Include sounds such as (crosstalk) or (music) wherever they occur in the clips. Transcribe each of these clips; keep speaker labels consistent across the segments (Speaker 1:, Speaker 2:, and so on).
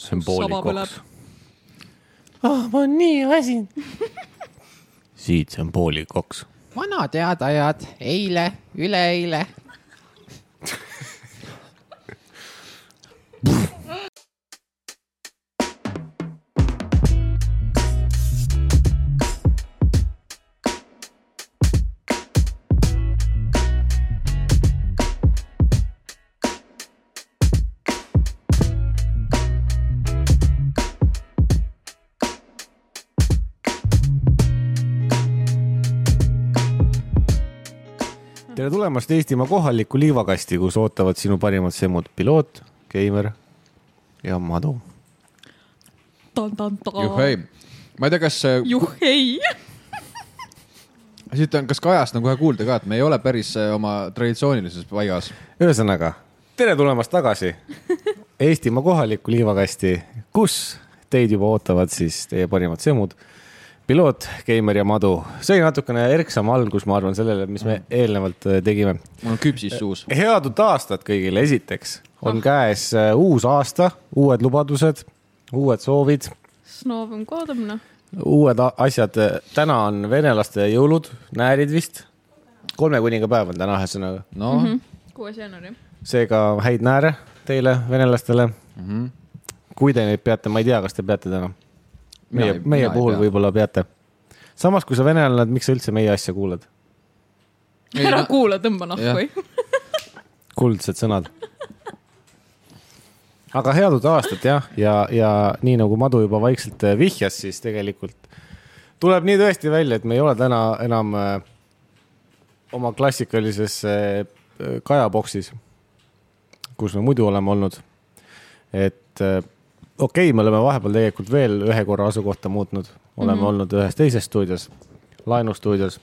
Speaker 1: sümboolikuks
Speaker 2: Saba .
Speaker 1: ah , ma olen nii väsin . siit sümboolikuks .
Speaker 3: vanateadajad eile , üleeile .
Speaker 1: tere tulemast Eestimaa kohalikku liivakasti , kus ootavad sinu parimad semud piloot , geimer ja madu .
Speaker 2: juhhei
Speaker 4: juhhei ., ma ei tea , kas äh,
Speaker 2: juhhei . (laughs)
Speaker 4: siit on , kas Kajast on kohe kuulda ka , et me ei ole päris äh, oma traditsioonilises paigas .
Speaker 1: ühesõnaga , tere tulemast tagasi Eestimaa kohalikku liivakasti , kus teid juba ootavad siis teie parimad semud , piloot , geimer ja madu . see oli natukene erksam algus , ma arvan , sellele , mis me eelnevalt äh, tegime .
Speaker 4: mul on küpsis suus .
Speaker 1: head uut aastat kõigile , esiteks on käes äh, uus aasta , uued lubadused , uued soovid ,
Speaker 2: Snovõm kodumna .
Speaker 1: uued a- asjad . täna on venelaste jõulud , näärid vist . kolme kuningapäev on täna , ühesõnaga .
Speaker 4: noh ,
Speaker 2: Mhm, kuues jaanuar jah .
Speaker 1: seega häid nääre teile , venelastele mm .
Speaker 4: Mhm.
Speaker 1: -hmm. kui te neid peate , ma ei tea , kas te peate täna .
Speaker 4: Mina
Speaker 1: meie
Speaker 4: ei- , mina
Speaker 1: meie
Speaker 4: ei
Speaker 1: puhul
Speaker 4: pea.
Speaker 1: võib-olla peate . samas , kui sa venelane oled , miks sa üldse meie asja kuulad ?
Speaker 4: Ei,
Speaker 2: ära
Speaker 4: no-
Speaker 2: kuula , tõmba nahku .
Speaker 1: kuldsed sõnad . aga head uut aastat jah , ja, ja , ja nii nagu Madu juba vaikselt eh, vihjas , siis tegelikult tuleb nii tõesti välja , et me ei ole täna enam eh, oma klassikalises eh, kajaboksis , kus me muidu oleme olnud . et eh, okei okay, , me oleme vahepeal tegelikult veel ühe korra asukohta muutnud , oleme mm -hmm. olnud ühes teises stuudios , laenustuudios .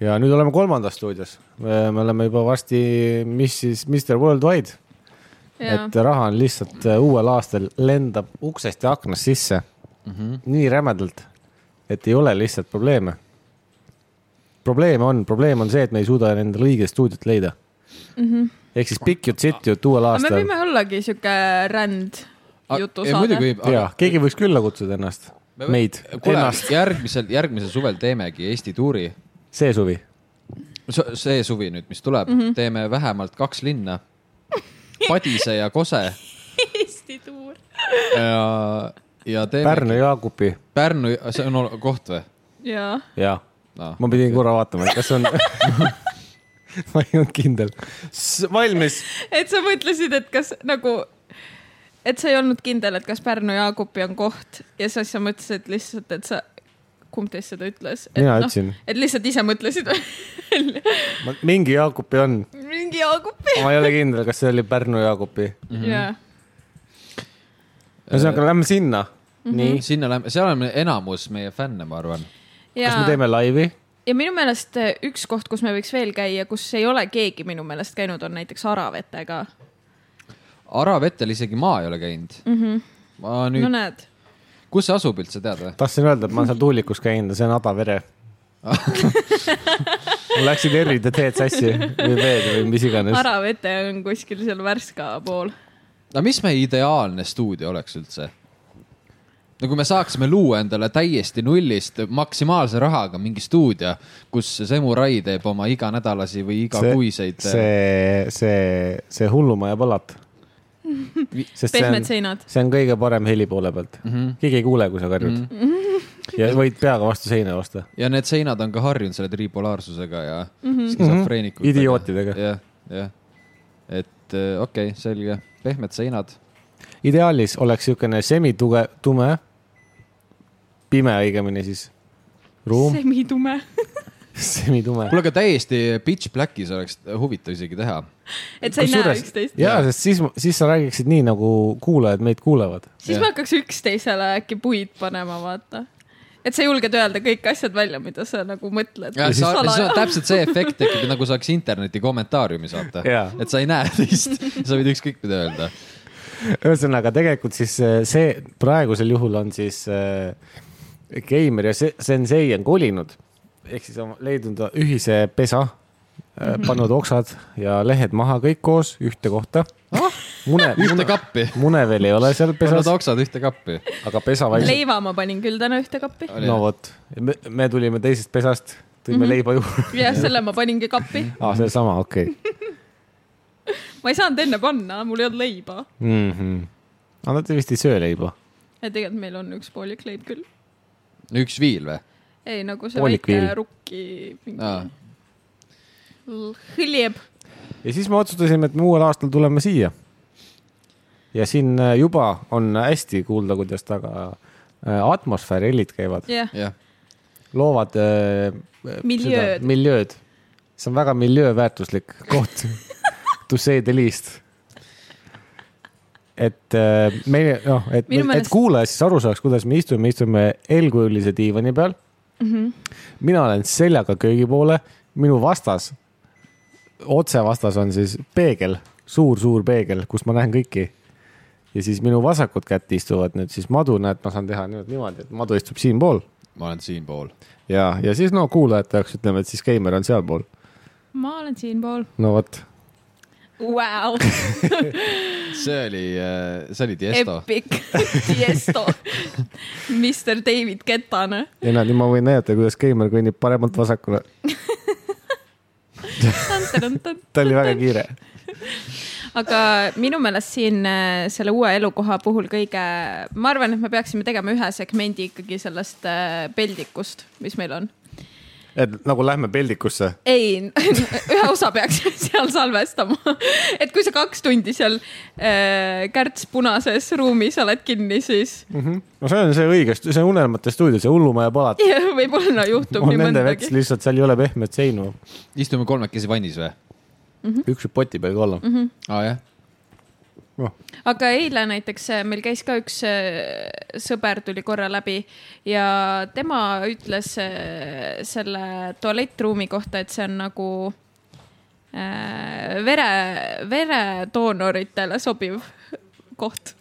Speaker 1: ja nüüd oleme kolmandas stuudios , me oleme juba varsti , mis siis Mr Worldwide ,
Speaker 2: ja
Speaker 1: et raha on lihtsalt eh, uuel aastal lendab uksest ja aknast sisse mm
Speaker 4: Mhm.
Speaker 1: -hmm. nii rämedalt , et ei ole lihtsalt probleeme . probleeme on , probleem on see , et me ei suuda endale õiget stuudiot leida mm . -hmm. ehk siis pikk jutt , sitt jutt uuel
Speaker 2: Aga Mhm. me
Speaker 1: aastal
Speaker 2: võime ollagi sihuke ränd
Speaker 4: ei
Speaker 2: jutusaade .
Speaker 4: muidugi võib .
Speaker 1: ja keegi võiks külla kutsuda ennast , meid ,
Speaker 4: kuule
Speaker 1: ennast ,
Speaker 4: järgmisel , järgmisel suvel teemegi Eesti tuuri .
Speaker 1: see suvi .
Speaker 4: see suvi nüüd , mis tuleb mm ,
Speaker 2: Mhm.
Speaker 4: -hmm. teeme vähemalt kaks linna . Padise ja Kose
Speaker 2: (laughs) Eesti tuur .
Speaker 4: ja , ja teeme
Speaker 1: Pärnu , Jaagupi .
Speaker 4: Pärnu , see on ol- koht või ?
Speaker 2: jaa .
Speaker 1: jaa ,
Speaker 4: Ah,
Speaker 1: ma pidin korra vaatama , et kas on . ma ei olnud kindel . valmis .
Speaker 2: et sa mõtlesid , et kas nagu , et sa ei olnud kindel , et kas Pärnu Jaagupi on koht ja siis sa mõtlesid lihtsalt , et sa , kumb teist seda ütles ?
Speaker 1: Mina ütlesin. .
Speaker 2: et lihtsalt ise mõtlesid (laughs) välja
Speaker 1: mingi Jaagupi on ,
Speaker 2: mingi Jaagupi .
Speaker 1: ma ei ole kindel , kas see oli Pärnu Jaagupi .
Speaker 2: jaa ,
Speaker 1: ühesõnaga , lähme sinna .
Speaker 2: Mhm.
Speaker 1: nii ,
Speaker 4: sinna lähme , seal on enamus meie fänne , ma arvan .
Speaker 1: kas
Speaker 2: jaa
Speaker 1: me . teeme laivi ?
Speaker 2: ja minu meelest eh, üks koht , kus me võiks veel käia , kus ei ole keegi minu meelest käinud , on näiteks Aravete ka .
Speaker 4: Aravetel isegi ma ei ole käinud mm . -hmm. ma nüüd
Speaker 2: Mhm. no
Speaker 4: no, ,
Speaker 2: näed ,
Speaker 4: kus see asub üldse , tead või ?
Speaker 1: tahtsin öelda , et ma olen seal tuulikus käinud ja see on Adavere . Läksid R-id ja T-d sassi või V-d või mis iganes .
Speaker 2: Aravete on kuskil seal Värska pool .
Speaker 4: no mis meie ideaalne stuudio oleks üldse ? no kui me saaksime luua endale täiesti nullist maksimaalse rahaga mingi stuudio , kus Semurai teeb oma iganädalasi või igakuiseid .
Speaker 1: see , see , see hullumaja
Speaker 2: (laughs)
Speaker 1: palat . sest see
Speaker 2: pehmed
Speaker 1: on ,
Speaker 2: seinad .
Speaker 1: see on kõige parem heli poole pealt mm . -hmm. keegi ei kuule , kui sa karjud mm . -hmm. ja võid peaga vastu seina lasta .
Speaker 4: ja need seinad on ka harjunud selle tripolaarsusega ja mm -hmm. skisofreenikutega .
Speaker 1: Mhm. Idiootidega.
Speaker 4: jah , jah . et eh, okei okay, , selge , pehmed seinad .
Speaker 1: ideaalis oleks niisugune semituge , tume , pime õigemini siis , ruum ,
Speaker 2: semitume .
Speaker 1: (laughs) semitume .
Speaker 4: kuule , aga täiesti pitch black'is oleks huvitav isegi teha .
Speaker 2: (laughs) et sa ei näe üksteist .
Speaker 1: ja , sest siis , siis sa räägiksid nii , nagu kuulajad meid kuulevad .
Speaker 2: siis
Speaker 4: Jah.
Speaker 2: me hakkaks üksteisele äkki puid panema , vaata . et sa julged öelda kõik asjad välja , mida sa nagu mõtled .
Speaker 4: ja siis on siis on täpselt see efekt tekib , nagu saaks interneti kommentaariumi saata
Speaker 1: Jaa.
Speaker 4: et sa ei näe teist , sa võid ükskõik mida öelda .
Speaker 1: ühesõnaga tegelikult siis äh, see praegusel juhul on siis äh, Geimer ja Se- Sensei on kolinud ehk siis on leidnud ühise äh, pesa , pannud oksad ja lehed maha kõik koos ühte kohta . mune ,
Speaker 4: ühte kappi .
Speaker 1: mune veel ei ole seal
Speaker 4: paned
Speaker 1: pesas ,
Speaker 4: oksad ühte kappi .
Speaker 1: aga pesa vaikselt .
Speaker 2: leiva ma panin küll täna ühte kappi .
Speaker 1: no vot , me me tulime teisest pesast , tõime leiba juurde .
Speaker 2: jah , selle ma paningi kappi .
Speaker 4: Ah,
Speaker 1: aa , seesama , okei .
Speaker 2: ma ei saanud enne panna , mul ei olnud leiba .
Speaker 1: Mhm. aga nad vist ei söö leiba .
Speaker 2: ja tegelikult meil on üks poolik leib küll .
Speaker 4: üks viil või ?
Speaker 2: ei , nagu see
Speaker 1: Poolik
Speaker 2: väike
Speaker 1: viil.
Speaker 2: rukki mingi l- hõljeb .
Speaker 1: ja siis me otsustasime , et me uuel aastal tuleme siia . ja siin äh, juba on hästi kuulda , kuidas taga äh, atmosfäärillid käivad ,
Speaker 2: jah ,
Speaker 4: jah ,
Speaker 1: loovad äh,
Speaker 2: Miljööd.
Speaker 1: seda- miljööd . see on väga miljööväärtuslik
Speaker 2: (laughs)
Speaker 1: koht , to say the least . et äh, meie , noh , et ,
Speaker 2: Minu meelest-
Speaker 1: et kuulaja siis aru saaks , kuidas me istume , istume eelkujulise diivani peal mm .
Speaker 2: Mhm.
Speaker 1: -hmm. mina olen seljaga köögi poole , minu vastas , otse vastas on siis peegel suur, , suur-suur peegel , kus ma näen kõiki ja siis minu vasakut kätt istuvad nüüd siis madu , näed , ma saan teha nimelt niimoodi , et madu istub siinpool
Speaker 4: ma olen siinpool .
Speaker 1: ja , ja siis no kuulajate jaoks ütleme , et siis Keimer on sealpool .
Speaker 2: ma olen siinpool .
Speaker 1: no vot ,
Speaker 2: Wow.
Speaker 4: see oli , see oli Diesto .
Speaker 2: (laughs) Epic Tiesto , Mr David Kettane .
Speaker 1: ja näed , nüüd ma võin näidata , kuidas Keimer kõnnib paremalt vasakule . ta oli väga kiire .
Speaker 2: aga minu meelest siin äh, selle uue elukoha puhul kõige , ma arvan , et me peaksime tegema ühe segmendi ikkagi sellest äh, peldikust , mis meil on .
Speaker 1: et nagu lähme peldikusse .
Speaker 2: ei , (laughs) ühe osa peaks (laughs) seal salvestama . et kui sa kaks tundi seal äh, kärts punases ruumis oled kinni , siis (laughs)
Speaker 1: no see on see õigest , see unelmate stuudio , see hullumaja palat .
Speaker 2: võib-olla juhtub
Speaker 1: on
Speaker 2: nii
Speaker 1: nende vets
Speaker 2: mõndagi .
Speaker 1: lihtsalt , seal ei ole pehmet seinu .
Speaker 4: istume kolmekesi vannis või ?
Speaker 1: üks võib poti peal ka olla mm .
Speaker 4: aa jah ,
Speaker 1: -hmm.
Speaker 2: aga eile näiteks äh, meil käis ka üks äh, sõber tuli korra läbi ja tema ütles äh, selle tualettruumi kohta , et see on nagu äh, vere , veredoonoritele sobiv koht .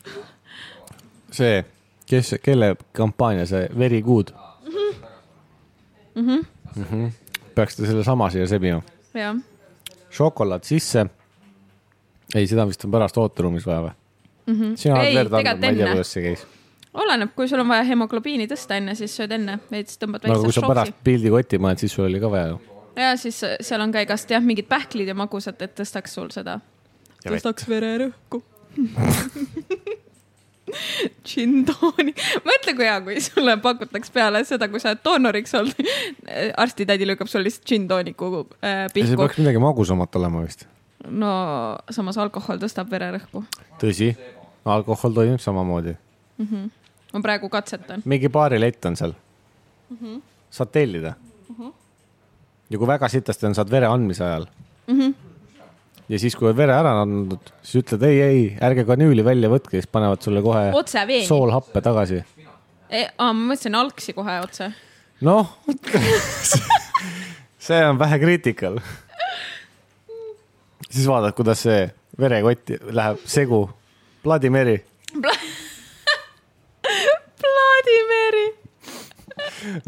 Speaker 1: see , kes , kelle kampaania see Very good mm ? -hmm. Mm -hmm. peaks ta sellesama siia sebima .
Speaker 2: jah ,
Speaker 1: šokolaad sisse . ei , seda vist on pärast ooteruumis vaja või mm ? -hmm. sina
Speaker 2: Mhm. Ei,
Speaker 1: oled verd andnud ,
Speaker 2: tegelikult
Speaker 1: ma ei tea ,
Speaker 2: enne.
Speaker 1: kuidas see käis .
Speaker 2: oleneb , kui sul on vaja hemoglobiini tõsta enne , siis sööd enne veits , tõmbad
Speaker 1: no aga kui
Speaker 2: väikse
Speaker 1: sa pärast
Speaker 2: šoksi .
Speaker 1: pildi kotti paned , siis sul oli ka vaja ju .
Speaker 2: ja siis äh, seal on ka igast jah , mingid pähklid ja magusad , et tõstaks sul seda .
Speaker 1: Ja vett.
Speaker 2: tõstaks (laughs) vererõhku . Gin-tooni , mõtle kui hea , kui sulle pakutaks peale seda , kui sa oled doonoriks olnud . arstitädi lükkab sul lihtsalt gin-tooniku äh,
Speaker 1: ja see
Speaker 2: pihku .
Speaker 1: peaks midagi magusamat olema vist .
Speaker 2: no samas alkohol tõstab vererõhku .
Speaker 1: tõsi , alkohol toimib samamoodi .
Speaker 2: ma praegu katsetan .
Speaker 1: mingi baarilett on seal mm .
Speaker 2: Mhm.
Speaker 1: -hmm. saad tellida mm . -hmm. ja kui väga sitasti on , saad vere andmise ajal mm .
Speaker 2: Mhm.
Speaker 1: -hmm. ja siis , kui oled vere ära andnud , siis ütled ei , ei , ärge kanüüli välja võtke , siis panevad sulle kohe
Speaker 2: otse veeni .
Speaker 1: soolhappe tagasi
Speaker 2: E, aa , ma mõtlesin algsi kohe otse .
Speaker 1: noh , (laughs) see on vähe critical . siis vaatad , kuidas see verekott läheb segu . Vladimiri ,
Speaker 2: Vladimiri .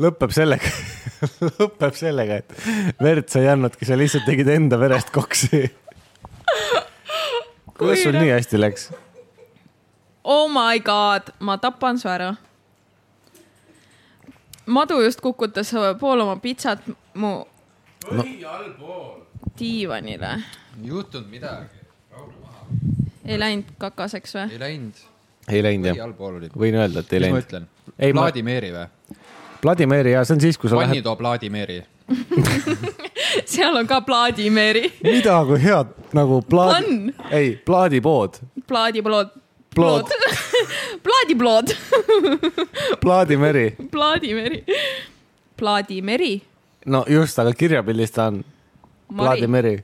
Speaker 1: lõpeb sellega , (laughs) lõpeb sellega , et verd sa ei andnudki , sa lihtsalt tegid enda verest koksi . kuidas sul
Speaker 2: Kuira.
Speaker 1: nii hästi läks ?
Speaker 2: oh my god , ma tapan su ära . madu just kukutas pool oma pitsat mu no. diivanile .
Speaker 4: ei juhtunud midagi ,
Speaker 2: ei läinud kakaseks või ? (laughs)
Speaker 4: ei läinud ,
Speaker 1: ei läinud
Speaker 4: või
Speaker 1: jah ?
Speaker 4: allpool oli .
Speaker 1: võin öelda , et ei
Speaker 4: mis ma
Speaker 1: läinud .
Speaker 4: ütlen ?
Speaker 1: Ei, ma-
Speaker 4: Vladimiri või ?
Speaker 1: Vladimiri ja see on siis , kui sa
Speaker 4: vanni
Speaker 1: lähed .
Speaker 4: toob Vladimiri .
Speaker 2: seal on ka plaadimeri ,
Speaker 1: mida , kui head nagu
Speaker 2: On.
Speaker 1: plaadi , ei plaadipood ,
Speaker 2: plaadiplood .
Speaker 1: Plood. .
Speaker 2: (laughs) plaadiplood ,
Speaker 1: Vladimiri
Speaker 2: (laughs) plaadimeri , plaadimeri .
Speaker 1: no just , aga kirjapildis ta on Vladimiri .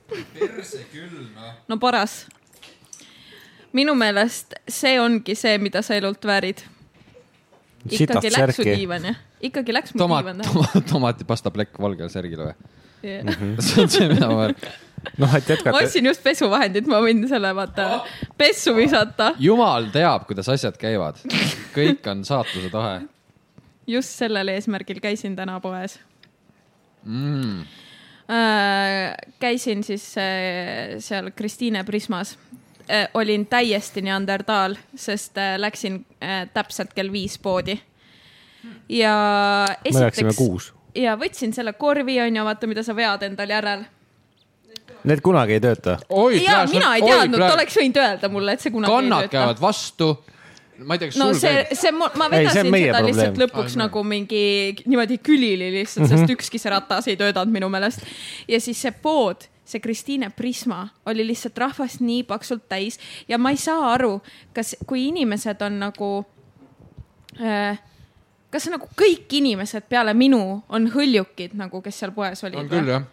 Speaker 2: no paras . minu meelest see ongi see , mida sa elult väärid .
Speaker 1: Sitast
Speaker 2: ikkagi läks su
Speaker 1: särki. (laughs)
Speaker 2: diivan , jah ? ikkagi läks mu
Speaker 4: tomat
Speaker 2: diivan ,
Speaker 4: (laughs) tomatipasta plekk valgele särgile või ? (laughs)
Speaker 2: täna .
Speaker 4: see on see , mida ma ,
Speaker 1: noh , et
Speaker 2: ma
Speaker 1: jätkata .
Speaker 2: ostsin just pesuvahendit , ma võin selle vaata pessu visata .
Speaker 4: jumal teab , kuidas asjad käivad . kõik on saatuse tahe
Speaker 2: just sellel eesmärgil käisin täna poes .
Speaker 4: mm. .
Speaker 2: käisin siis äh, seal Kristiine äh, Prismas äh, olin täiesti neandertaal , sest äh, läksin äh, täpselt kell viis poodi . ja
Speaker 1: me läksime
Speaker 2: esiteks ,
Speaker 1: kuus .
Speaker 2: ja võtsin selle korvi , onju , vaata , mida sa vead endal järel .
Speaker 1: Need kunagi ei tööta .
Speaker 4: oi
Speaker 2: ja mina ei teadnud , ta oleks võinud öelda mulle , et see kunagi
Speaker 4: kannad
Speaker 2: ei tööta
Speaker 4: käivad vastu . ma ei tea , kas
Speaker 2: no
Speaker 4: sul
Speaker 2: see
Speaker 4: käib ,.
Speaker 2: see , ma
Speaker 1: Ei, see
Speaker 2: vedasin
Speaker 1: on meie
Speaker 2: seda
Speaker 1: probleem. Mhm.
Speaker 2: lihtsalt lõpuks nagu mingi niimoodi külili lihtsalt , sest ükski see ratas ei töötanud minu meelest . ja siis see pood , see Kristiine Prisma oli lihtsalt rahvast nii paksult täis ja ma ei saa aru , kas , kui inimesed on nagu äh, kas nagu kõik inimesed peale minu on hõljukid nagu , kes seal poes olid ?
Speaker 4: on küll jah .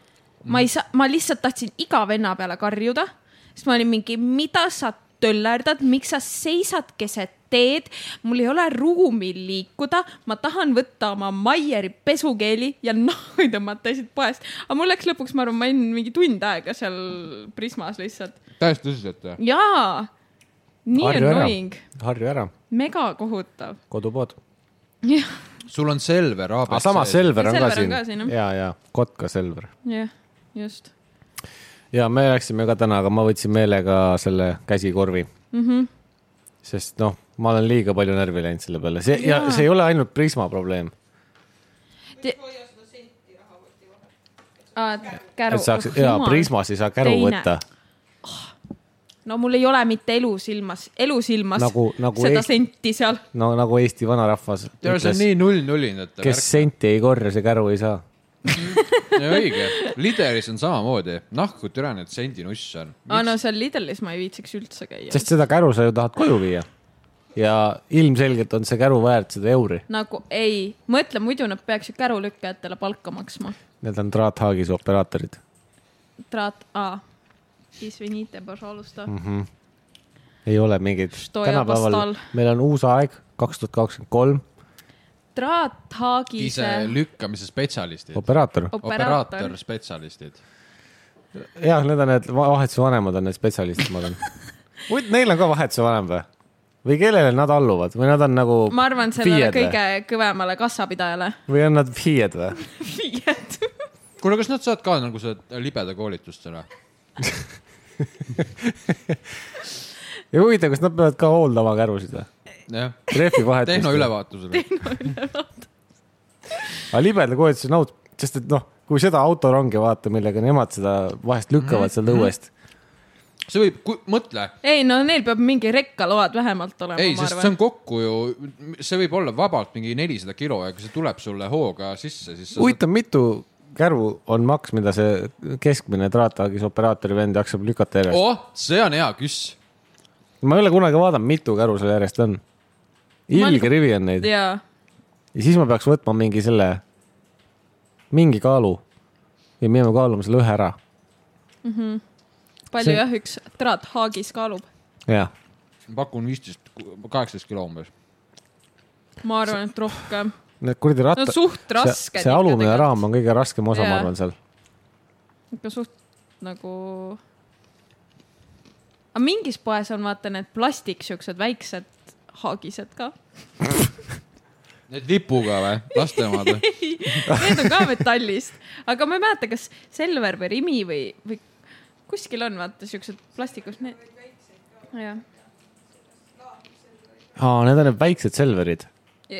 Speaker 2: ma ei saa , ma lihtsalt tahtsin iga venna peale karjuda , sest ma olin mingi , mida sa töllerdad , miks sa seisad keset teed , mul ei ole ruumi liikuda , ma tahan võtta oma Maieri pesukeeli ja (laughs) nahku tõmmata siit poest . aga mul läks lõpuks , ma arvan , ma olin mingi tund aega seal Prismas lihtsalt .
Speaker 4: täiesti tõsiselt jah .
Speaker 2: jaa , nii
Speaker 1: harju ära
Speaker 2: annoying ,,
Speaker 1: harju ära ,
Speaker 2: mega kohutav .
Speaker 1: kodupood .
Speaker 2: jah ,
Speaker 4: sul on Selver
Speaker 1: aga
Speaker 4: abc .
Speaker 1: samas Selver on
Speaker 2: Selver
Speaker 1: ka
Speaker 2: on
Speaker 1: siin
Speaker 2: ka siin, jah.
Speaker 1: ja , ja Kotka Selver
Speaker 2: jah , just .
Speaker 1: ja me läksime ka täna , aga ma võtsin meelega selle käsikorvi mm .
Speaker 2: Mhm.
Speaker 1: -hmm. sest noh , ma olen liiga palju närvi läinud selle peale , see ja.
Speaker 2: Jaa.
Speaker 1: ja see ei ole ainult Prisma probleem ,
Speaker 2: käru Ah,
Speaker 1: et , saaks ja Prismas ei saa käru
Speaker 2: oh, Teine.
Speaker 1: Teine. võtta .
Speaker 2: no mul ei ole mitte elu silmas , elu silmas
Speaker 1: Nagu- nagu
Speaker 2: seda
Speaker 1: Eesti-
Speaker 2: senti seal .
Speaker 1: no nagu Eesti vanarahvas
Speaker 4: tead , see on
Speaker 1: ütles ,
Speaker 4: nii null-nullindate
Speaker 1: kes senti ei korja , see käru ei saa .
Speaker 4: värk . õige , Lideris on samamoodi , nahku türa need sendinuss on .
Speaker 2: aa Ah, no seal Lidlis ma ei viitsiks üldse käia Sest... .
Speaker 1: sest seda käru sa ju tahad koju viia . ja ilmselgelt on see käru väärt seda euri ,
Speaker 2: nagu ei , mõtle muidu nad peaksid kärulükkajatele palka maksma .
Speaker 1: need on traathaagis operaatorid .
Speaker 2: Traat , aa . Isvinite , pažalusta
Speaker 1: Mhm.
Speaker 2: mm .
Speaker 1: ei ole mingit ,
Speaker 2: Što ja
Speaker 1: tänapäeval
Speaker 2: postal.
Speaker 1: meil on uus aeg , kaks tuhat kakskümmend kolm ,
Speaker 2: Traathaagise
Speaker 4: ise lükkamise spetsialistid .
Speaker 1: operaator .
Speaker 2: operaator
Speaker 4: operaator , spetsialistid .
Speaker 1: jah , need on need va- vahetuse vanemad on need spetsialistid , ma
Speaker 2: (laughs)
Speaker 1: arvan . huvitav , neil on ka vahetuse vanem või ? või kellele nad alluvad või nad on nagu
Speaker 2: ma arvan sellele
Speaker 1: FIE-d või?
Speaker 2: kõige kõvemale kassapidajale . (laughs)
Speaker 1: või on nad FIE-d või ?
Speaker 2: FIE-d .
Speaker 4: kuule , kas nad saavad ka nagu seda libeda koolitust ära ?
Speaker 1: ja huvitav , kas nad peavad ka hooldama kärusid või ?
Speaker 4: jah ,
Speaker 1: rehvi vahetust .
Speaker 4: tehnoülevaatusele .
Speaker 1: aga libeda koolitus on aus , sest et noh , kui seda autorongi vaata , millega nemad seda vahest lükkavad seal õuest .
Speaker 4: see võib , mõtle ,
Speaker 2: ei no neil peab mingi rekkaload vähemalt olema ,
Speaker 4: ei ,
Speaker 2: ma
Speaker 4: sest see
Speaker 2: arvan
Speaker 4: on . kokku ju , see võib olla vabalt mingi nelisada kilo ja kui see tuleb sulle hooga sisse , siis sa
Speaker 1: huvitav , mitu käru on maks , mida see keskmine traathaagis operaatori vend jaksab lükata
Speaker 4: saad... .
Speaker 1: järjest ?
Speaker 4: oh , see on hea küss .
Speaker 1: ma ei ole kunagi vaadanud , mitu käru seal järjest on .
Speaker 2: Ma olen-
Speaker 1: ilge rivi on neid .
Speaker 2: jaa ,
Speaker 1: ja siis ma peaks võtma mingi selle , mingi kaalu ja minema kaaluma selle ühe ära .
Speaker 2: palju
Speaker 1: See-
Speaker 2: jah , üks traathaagis kaalub .
Speaker 1: jah ,
Speaker 4: pakun viisteist , kaheksateist kilo umbes .
Speaker 2: ma arvan , et rohkem .
Speaker 1: need kuradi ratta-
Speaker 2: no . suht raske .
Speaker 1: see alumine raam on kõige raskem osa , ma
Speaker 2: Jaa.
Speaker 1: arvan seal .
Speaker 2: ikka suht nagu . aga mingis poes on vaata need plastik siuksed väiksed haagised ka .
Speaker 4: Need lipuga või , laste omad või ?
Speaker 2: Need
Speaker 1: (laughs)
Speaker 2: on ka metallist , aga ma ei mäleta , kas Selver või Rimi või , või kuskil on vaata siuksed plastikust need . jah ,
Speaker 1: aa , need on need väiksed Selverid ,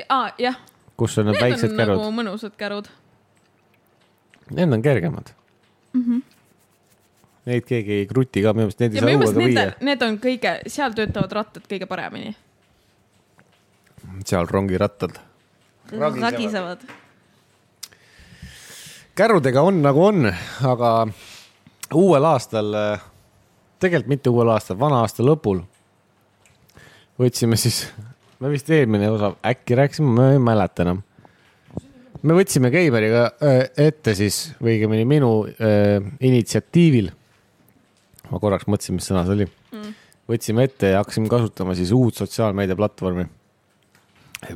Speaker 2: aa jah ,
Speaker 1: kus on need, need
Speaker 2: need
Speaker 1: väiksed
Speaker 2: on
Speaker 1: kärud
Speaker 2: nagu mõnusad kärud .
Speaker 1: nagu... , need on kergemad mm . -hmm. Neid keegi ei kruti ka , minu meelest neid ei
Speaker 2: Mhm. ja minu
Speaker 1: saa
Speaker 2: meelest
Speaker 1: õuega viia
Speaker 2: nendel , need on kõige , seal töötavad rattad kõige paremini .
Speaker 1: seal rongirattad .
Speaker 2: ragisevad .
Speaker 1: kärudega on nagu on , aga uuel aastal , tegelikult mitte uuel aastal , vana aasta lõpul võtsime siis , me vist eelmine osa äkki rääkisime , ma ei mäleta enam . me võtsime Keimeriga äh, ette siis , või õigemini minu äh, initsiatiivil . ma korraks mõtlesin , mis sõna see oli mm. . võtsime ette ja hakkasime kasutama siis uut sotsiaalmeediaplatvormi .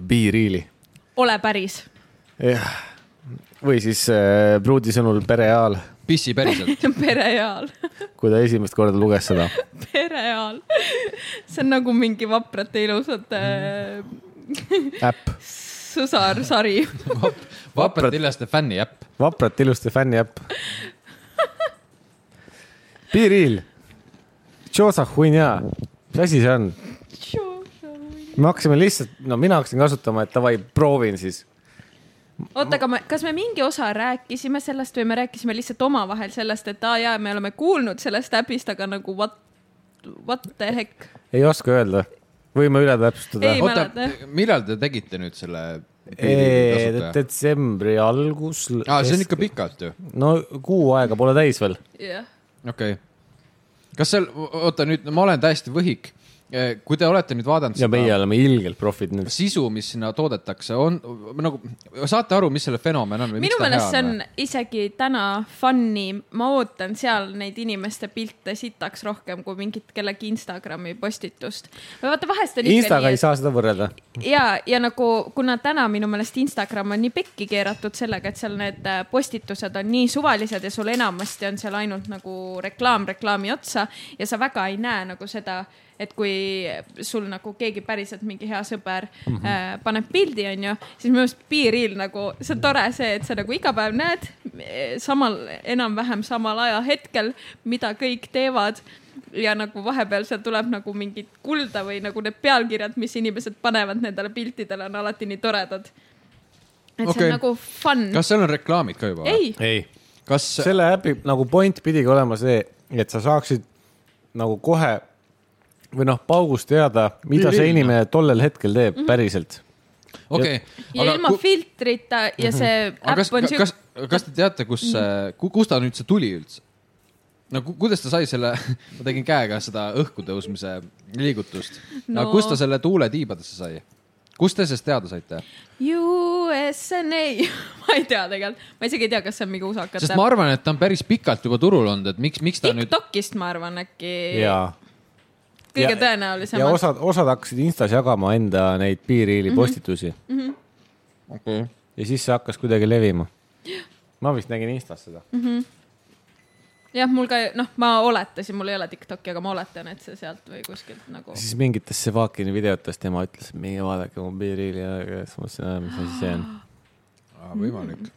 Speaker 1: B-Reali
Speaker 2: ole päris . (laughs)
Speaker 1: jah , või siis äh, Pruudi sõnul pere ajal ,
Speaker 4: pissi päriselt .
Speaker 2: pere jaal
Speaker 1: kui ta esimest korda luges seda .
Speaker 2: pereajal . see on nagu mingi vaprate ilusate
Speaker 4: Mm.
Speaker 1: äpp ,
Speaker 2: sõsarsari .
Speaker 4: Vaprad Illeste fänni äpp .
Speaker 1: vaprate ilusti fänni äpp . Piiril , Tšosahuinja , mis asi see on ? me hakkasime lihtsalt , no mina hakkasin kasutama , et davai , proovin siis .
Speaker 2: oota , aga me , kas me mingi osa rääkisime sellest või me rääkisime lihtsalt omavahel sellest , et aa jaa , me oleme kuulnud sellest äpist , aga nagu what , what the heck .
Speaker 1: ei oska öelda , võime üle täpsustada
Speaker 2: Ei, .
Speaker 4: oota
Speaker 2: mäleta, ,
Speaker 4: millal te tegite nüüd selle ? aa ,
Speaker 1: detsembri algus .
Speaker 4: Ah, see on ikka pikalt ju .
Speaker 1: no kuu aega pole täis veel .
Speaker 2: jah ,
Speaker 4: okei okay. . kas seal , oota nüüd , ma olen täiesti võhik . kui te olete nüüd vaadanud
Speaker 1: ja meie oleme ilgelt profid nüüd .
Speaker 4: sisu , mis sinna toodetakse , on nagu , saate aru , mis selle fenomen on või
Speaker 2: minu
Speaker 4: miks ta hea
Speaker 2: meelest see
Speaker 4: on
Speaker 2: on ? isegi täna fun'i , ma ootan seal neid inimeste pilte sitaks rohkem kui mingit kellegi Instagrami postitust . vaata vahest on ikka
Speaker 1: Instaga
Speaker 2: nii,
Speaker 1: ei saa seda võrrelda .
Speaker 2: ja , ja nagu , kuna täna minu meelest Instagram on nii pekki keeratud sellega , et seal need äh, postitused on nii suvalised ja sul enamasti on seal ainult nagu reklaam reklaami otsa ja sa väga ei näe nagu seda , et kui sul nagu keegi päriselt mingi hea sõber mm -hmm. äh, paneb pildi , onju , siis minu arust piiril nagu see on tore see , et sa nagu iga päev näed eh, samal , enam-vähem samal ajahetkel , mida kõik teevad ja nagu vahepeal seal tuleb nagu mingit kulda või nagu need pealkirjad , mis inimesed panevad nendele piltidele , on alati nii toredad . et okay. see
Speaker 4: Okei.
Speaker 2: on nagu fun .
Speaker 4: kas seal on reklaamid ka juba ?
Speaker 2: ei ,
Speaker 1: ei .
Speaker 4: kas see... ,
Speaker 1: selle äpi nagu point pidigi olema see , et sa saaksid nagu kohe või noh , paugust teada , mida see
Speaker 4: Milline?
Speaker 1: inimene tollel hetkel teeb päriselt .
Speaker 4: okei .
Speaker 2: ja aga, ilma kui... filtrita ja see
Speaker 4: Mhm. aga
Speaker 2: äpp
Speaker 4: kas ,
Speaker 2: on Mm.
Speaker 4: kas
Speaker 2: siuke ,,
Speaker 4: kas te teate , kus , kust ta nüüd see tuli üldse ? no ku- kuidas ta sai selle , (laughs) ma tegin käega seda õhku tõusmise liigutust no. . aga
Speaker 2: No.
Speaker 4: kust ta selle tuule tiibadesse sai ? kust te sellest teada saite ?
Speaker 2: USA , (laughs) ma ei tea tegelikult , ma isegi ei tea , kas see on mingi usakas
Speaker 4: sest ma arvan , et ta on päris pikalt juba turul olnud , et miks , miks ta nüüd ,
Speaker 2: Tiktokist ma arvan äkki
Speaker 1: ja ,
Speaker 2: kõige
Speaker 1: ja- ja
Speaker 2: tõenäolisemalt .
Speaker 1: osad , osad hakkasid Instas jagama enda neid piiriili postitusi
Speaker 4: okay.
Speaker 1: ja siis see hakkas kuidagi levima . ma vist nägin Instas seda .
Speaker 2: jah , mul ka , noh , ma oletasin , mul ei ole Tiktoki , aga ma oletan , et see sealt või kuskilt nagu .
Speaker 1: siis mingites Sevakini videotes tema ütles , et minge vaadake mu piiriili ja ja siis ma mõtlesin , et mis asi see on .
Speaker 4: võimalik .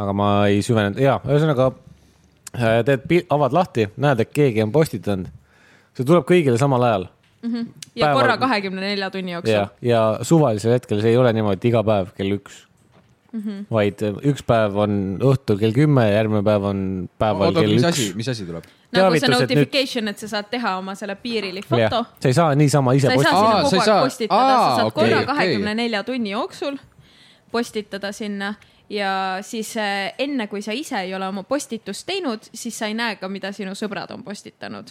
Speaker 1: aga ma ei süvenenud , jaa , ühesõnaga äh, teed , avad lahti , näed , et keegi on postitanud . see tuleb kõigile samal ajal
Speaker 2: ja
Speaker 1: päeval-
Speaker 2: korra kahekümne nelja tunni jooksul
Speaker 1: ja , ja suvalisel hetkel see ei ole niimoodi , et iga päev kell üks mm .
Speaker 2: Mhm.
Speaker 1: -hmm. vaid äh, üks päev on õhtul kell kümme , järgmine päev on päeval
Speaker 4: oota ,
Speaker 1: kell
Speaker 4: mis
Speaker 1: üks
Speaker 4: asi ,. mis asi tuleb ?
Speaker 2: nagu see
Speaker 1: teavitus, et nüüd-
Speaker 2: notification , et sa saad teha oma selle piirili foto .
Speaker 1: sa ei saa niisama ise
Speaker 2: sa ei saa
Speaker 1: postitada .
Speaker 4: Aa,
Speaker 2: sinna kogu
Speaker 4: sa ei
Speaker 2: aeg
Speaker 4: saa-
Speaker 2: postitada , sa
Speaker 4: aa,
Speaker 2: saad
Speaker 4: okei,
Speaker 2: korra
Speaker 4: okei.
Speaker 2: kahekümne nelja tunni jooksul postitada sinna ja siis äh, enne , kui sa ise ei ole oma postitust teinud , siis sa ei näe ka , mida sinu sõbrad on postitanud .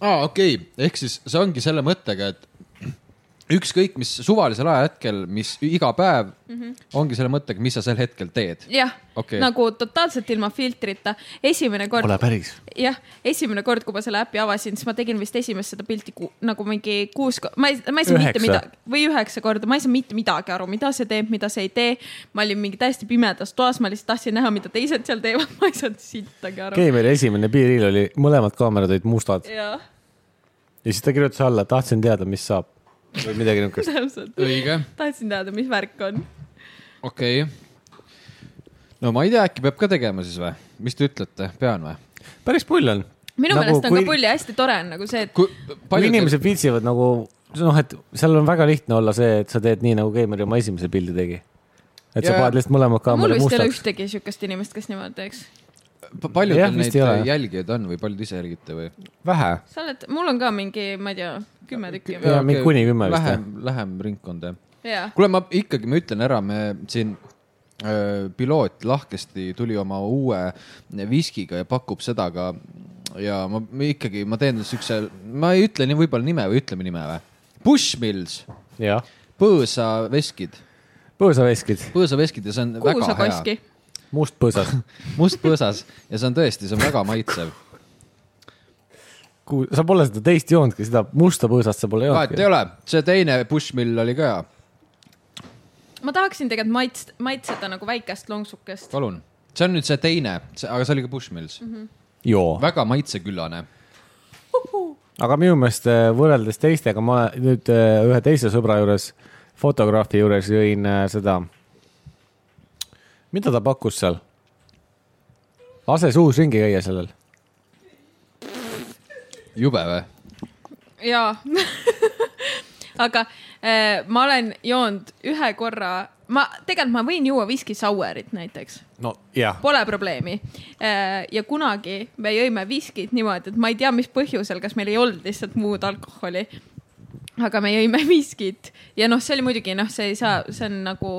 Speaker 4: aa , okei okay. , ehk siis see ongi selle mõttega , et ükskõik mis suvalisel ajahetkel , mis iga päev mm -hmm. ongi selle mõttega , mis sa sel hetkel teed .
Speaker 2: jah
Speaker 4: Okei.
Speaker 2: okay. , nagu totaalselt ilma filtrita . esimene kord ,
Speaker 1: ole päris .
Speaker 2: jah , esimene kord , kui ma selle äpi avasin , siis ma tegin vist esimest seda pilti ku, nagu mingi kuus , ma ei , ma ei saanud mitte
Speaker 1: Üheksa.
Speaker 2: midagi või üheksa korda , ma ei saanud mitte midagi aru , mida see teeb , mida see ei tee . ma olin mingi täiesti pimedas toas , ma lihtsalt tahtsin näha , mida teised seal teevad , ma ei saanud sittagi aru okay. .
Speaker 1: Keimeri esimene piiriil oli , mõlemad kaamerad olid mustad
Speaker 2: jah ,
Speaker 1: ja siis ta kirjutas alla , tahtsin teada , mis saab või midagi niukest .
Speaker 2: täpselt ,
Speaker 4: õige ,
Speaker 2: tahtsin teada , mis värk on .
Speaker 4: okei okay. . no ma ei tea , äkki peab ka tegema siis või ? mis te ütlete , pean või ?
Speaker 1: päris pull on .
Speaker 2: minu nagu, meelest on kui... ka pull ja hästi tore on nagu see , et
Speaker 4: kui
Speaker 1: kui
Speaker 4: palju inimesed
Speaker 1: inimesed viitsivad nagu noh , et seal on väga lihtne olla see , et sa teed nii nagu Keimeri oma esimese pildi tegi . et sa
Speaker 4: Jaa.
Speaker 1: paned lihtsalt mõlemad
Speaker 2: mul
Speaker 1: kaamerad
Speaker 2: vist ei ole
Speaker 1: mustaks .
Speaker 2: ühtegi siukest inimest , kes niimoodi teeks .
Speaker 4: te , palju
Speaker 1: Jah,
Speaker 4: teil
Speaker 1: vist
Speaker 4: neid
Speaker 1: ei ole.
Speaker 4: jälgijaid on või palju te ise jälgite või ?
Speaker 1: vähe .
Speaker 2: sa oled , mul on ka mingi , ma ei tea , kümme tükki või
Speaker 1: Jaa, mingi kuni kümme vist,
Speaker 4: lähem , lähem ringkond jah .
Speaker 2: jah .
Speaker 4: kuule , ma ikkagi , ma ütlen ära , me siin öö, piloot lahkesti tuli oma uue viskiga ja pakub seda ka . ja ma ma ikkagi , ma teen siukse , ma ei ütle nii võib-olla nime või ütleme nime või ? Bushmills ,
Speaker 1: jah .
Speaker 4: põõsaveskid ,
Speaker 1: põõsaveskid ,
Speaker 4: põõsaveskid ja see on väga hea ,
Speaker 2: kuusakoski .
Speaker 1: must (laughs) põõsas .
Speaker 4: must põõsas ja see on tõesti , see on väga maitsev .
Speaker 1: sa pole seda teist joonudki , seda musta põõsast sa pole
Speaker 4: vahet ei
Speaker 1: joonudki .
Speaker 4: ole , see teine Bushmill oli ka hea ,
Speaker 2: ma tahaksin tegelikult maits- , maitseda nagu väikest lonksukest .
Speaker 4: palun . see on nüüd see teine , aga see oli ka Bushmills
Speaker 2: Mhm.
Speaker 4: mm , -hmm.
Speaker 1: joo .
Speaker 4: väga maitseküllane .
Speaker 1: aga minu meelest äh, võrreldes teistega ma olen nüüd äh, ühe teise sõbra juures , fotograafi juures jõin äh, seda . mida ta pakkus seal ? ase suus ringi käia sellel .
Speaker 4: jube või ?
Speaker 2: jaa . (laughs) aga äh, ma olen joonud ühe korra , ma tegelikult ma võin juua whisky sour'it näiteks ,
Speaker 1: no jah ,
Speaker 2: pole probleemi äh, . ja kunagi me jõime whisky't niimoodi , et ma ei tea , mis põhjusel , kas meil ei olnud lihtsalt muud alkoholi . aga me jõime (laughs) whisky't ja noh , see oli muidugi noh , see ei saa , see on nagu